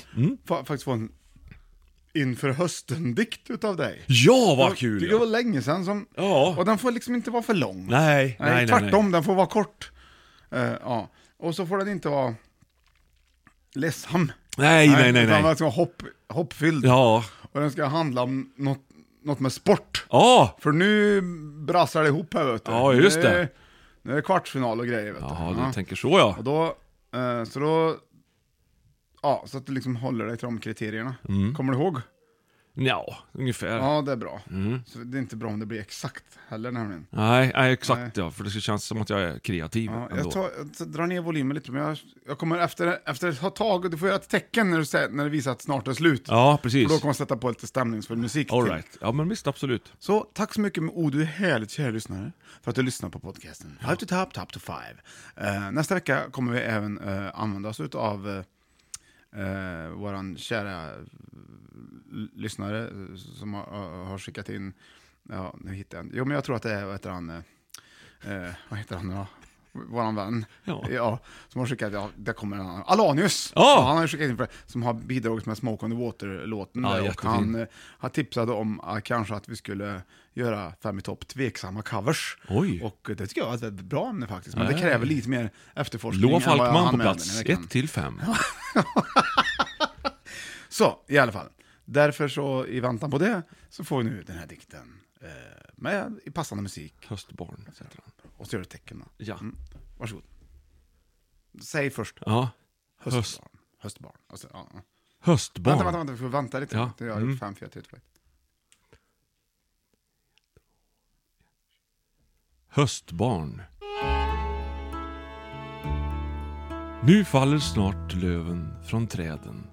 Speaker 1: fa faktiskt få en inför hösten-dikt utav dig.
Speaker 2: Ja, vad
Speaker 1: Det
Speaker 2: kul!
Speaker 1: var
Speaker 2: Ja.
Speaker 1: länge sedan som...
Speaker 2: Ja.
Speaker 1: Och den får liksom inte vara för lång.
Speaker 2: Nej, nej, nej.
Speaker 1: tvärtom,
Speaker 2: nej.
Speaker 1: den får vara kort. Eh, ja. Och så får den inte vara ledsam.
Speaker 2: Nej, nej, nej,
Speaker 1: Utan
Speaker 2: nej.
Speaker 1: den ska vara hopp, hoppfylld.
Speaker 2: Ja.
Speaker 1: Och den ska handla om något, något med sport.
Speaker 2: Ja!
Speaker 1: För nu brassar det ihop här vet du.
Speaker 2: Ja, just
Speaker 1: Nu-
Speaker 2: det.
Speaker 1: Nu är det kvartsfinal och grejer vet du.
Speaker 2: Ja, du tänker så ja.
Speaker 1: Och då, eh, så då Ja, så att du liksom håller dig till de kriterierna. Kommer du ihåg?
Speaker 2: Mm. Ja, Mm. ungefär.
Speaker 1: Ja, det är bra. Så det är inte bra om det blir exakt heller nämligen.
Speaker 2: Nej, nej, exakt ja. För det känns som att jag är kreativ
Speaker 1: Ja,
Speaker 2: ändå.
Speaker 1: jag, tar, jag tar- drar ner volymen lite, men jag, jag kommer efter, efter ett tag, du får göra ett tecken när du, säger, när du visar att snart är slut.
Speaker 2: Ja,
Speaker 1: Och då
Speaker 2: precis.
Speaker 1: kommer jag sätta på lite stämningsfull musik
Speaker 2: All
Speaker 1: till.
Speaker 2: right. Ja, men visst, absolut.
Speaker 1: Så tack så mycket med O, du är härligt kära lyssnare, för att du lyssnar på podcasten. Five to top, top to five. Eh, nästa vecka kommer vi även eh, använda oss av uh, vår kära eh, l- lyssnare eh, som har, har- har skickat in, ja nu hittar jag en. Jo men jag tror att det är, vad heter han, eh, eh, vad heter han då? Våran vän,
Speaker 2: Ja.
Speaker 1: som har skickat, ja, där kommer en annan, Alanius!
Speaker 2: Ja!
Speaker 1: han har skickat in för, som har bidragit med Smoke on the Water-låten
Speaker 2: Ja,
Speaker 1: där, och
Speaker 2: jättefin.
Speaker 1: han eh, han tipsade om eh, kanske att vi skulle göra Fem i topp tveksamma covers.
Speaker 2: Oj.
Speaker 1: Och eh, det tycker jag är ett väldigt bra ämne faktiskt, men det
Speaker 2: Nej.
Speaker 1: kräver lite mer efterforskning.
Speaker 2: Loa
Speaker 1: än vad jag
Speaker 2: Falkman
Speaker 1: hann
Speaker 2: på
Speaker 1: med den
Speaker 2: plats
Speaker 1: här veckan.
Speaker 2: 1 till 5.
Speaker 1: Så, i alla fall. Därför så, i väntan på det, så får vi nu den här dikten. Eh, med i passande musik.
Speaker 2: Höstbarn, heter han.
Speaker 1: Och så gör du tecken då. Mm.
Speaker 2: Ja.
Speaker 1: Varsågod. Säg först
Speaker 2: ja.
Speaker 1: höstbarn.
Speaker 2: Höst,
Speaker 1: Höstbarn. Och så, ja, ja.
Speaker 2: höstbarn.
Speaker 1: Vänta, vänta, vänta, vi får vänta lite.
Speaker 2: Ja.
Speaker 1: Jag har
Speaker 2: Mm.
Speaker 1: gjort fem, fyra, tre, två, ett.
Speaker 2: Höstbarn. Nu faller snart löven från träden.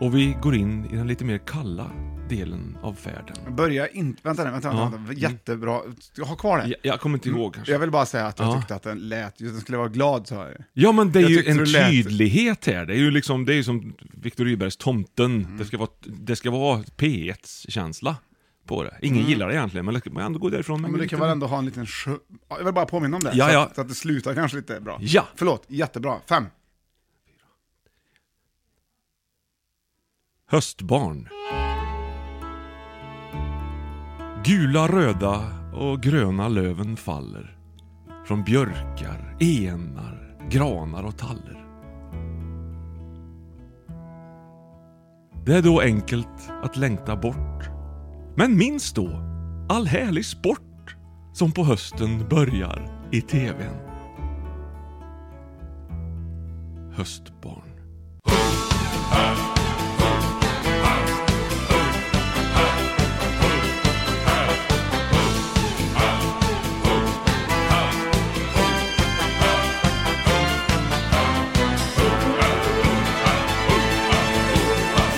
Speaker 2: Och vi går in i den lite mer kalla delen av färden.
Speaker 1: Börja inte, vänta, vänta, vänta,
Speaker 2: Ja.
Speaker 1: vänta. jättebra. Ha kvar det.
Speaker 2: Jag, jag kommer inte ihåg kanske.
Speaker 1: Mm. Jag vill bara säga att jag
Speaker 2: Ja.
Speaker 1: tyckte att den lät, just den skulle vara glad så här.
Speaker 2: Ja men det är
Speaker 1: Jag
Speaker 2: ju
Speaker 1: tyckte
Speaker 2: en
Speaker 1: det lät-
Speaker 2: tydlighet här. Det är ju liksom, det är ju som Viktor Rydbergs Tomten.
Speaker 1: Mm.
Speaker 2: Det ska vara, det ska vara P1-känsla på det.
Speaker 1: Mm.
Speaker 2: Ingen gillar det egentligen, men det ska man ändå gå därifrån med
Speaker 1: Men du
Speaker 2: lite-
Speaker 1: kan väl ändå ha en liten sjö... Ja, Jag vill bara påminna om det,
Speaker 2: Ja,
Speaker 1: så,
Speaker 2: ja.
Speaker 1: Att, så att det slutar kanske lite bra.
Speaker 2: Ja.
Speaker 1: Förlåt, jättebra. Fem.
Speaker 2: Höstbarn. Gula, röda och gröna löven faller. Från björkar, enar, granar och taller. Det är då enkelt att längta bort. Men minns då all härlig sport som på hösten börjar i TVn. Höstbarn.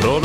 Speaker 9: Från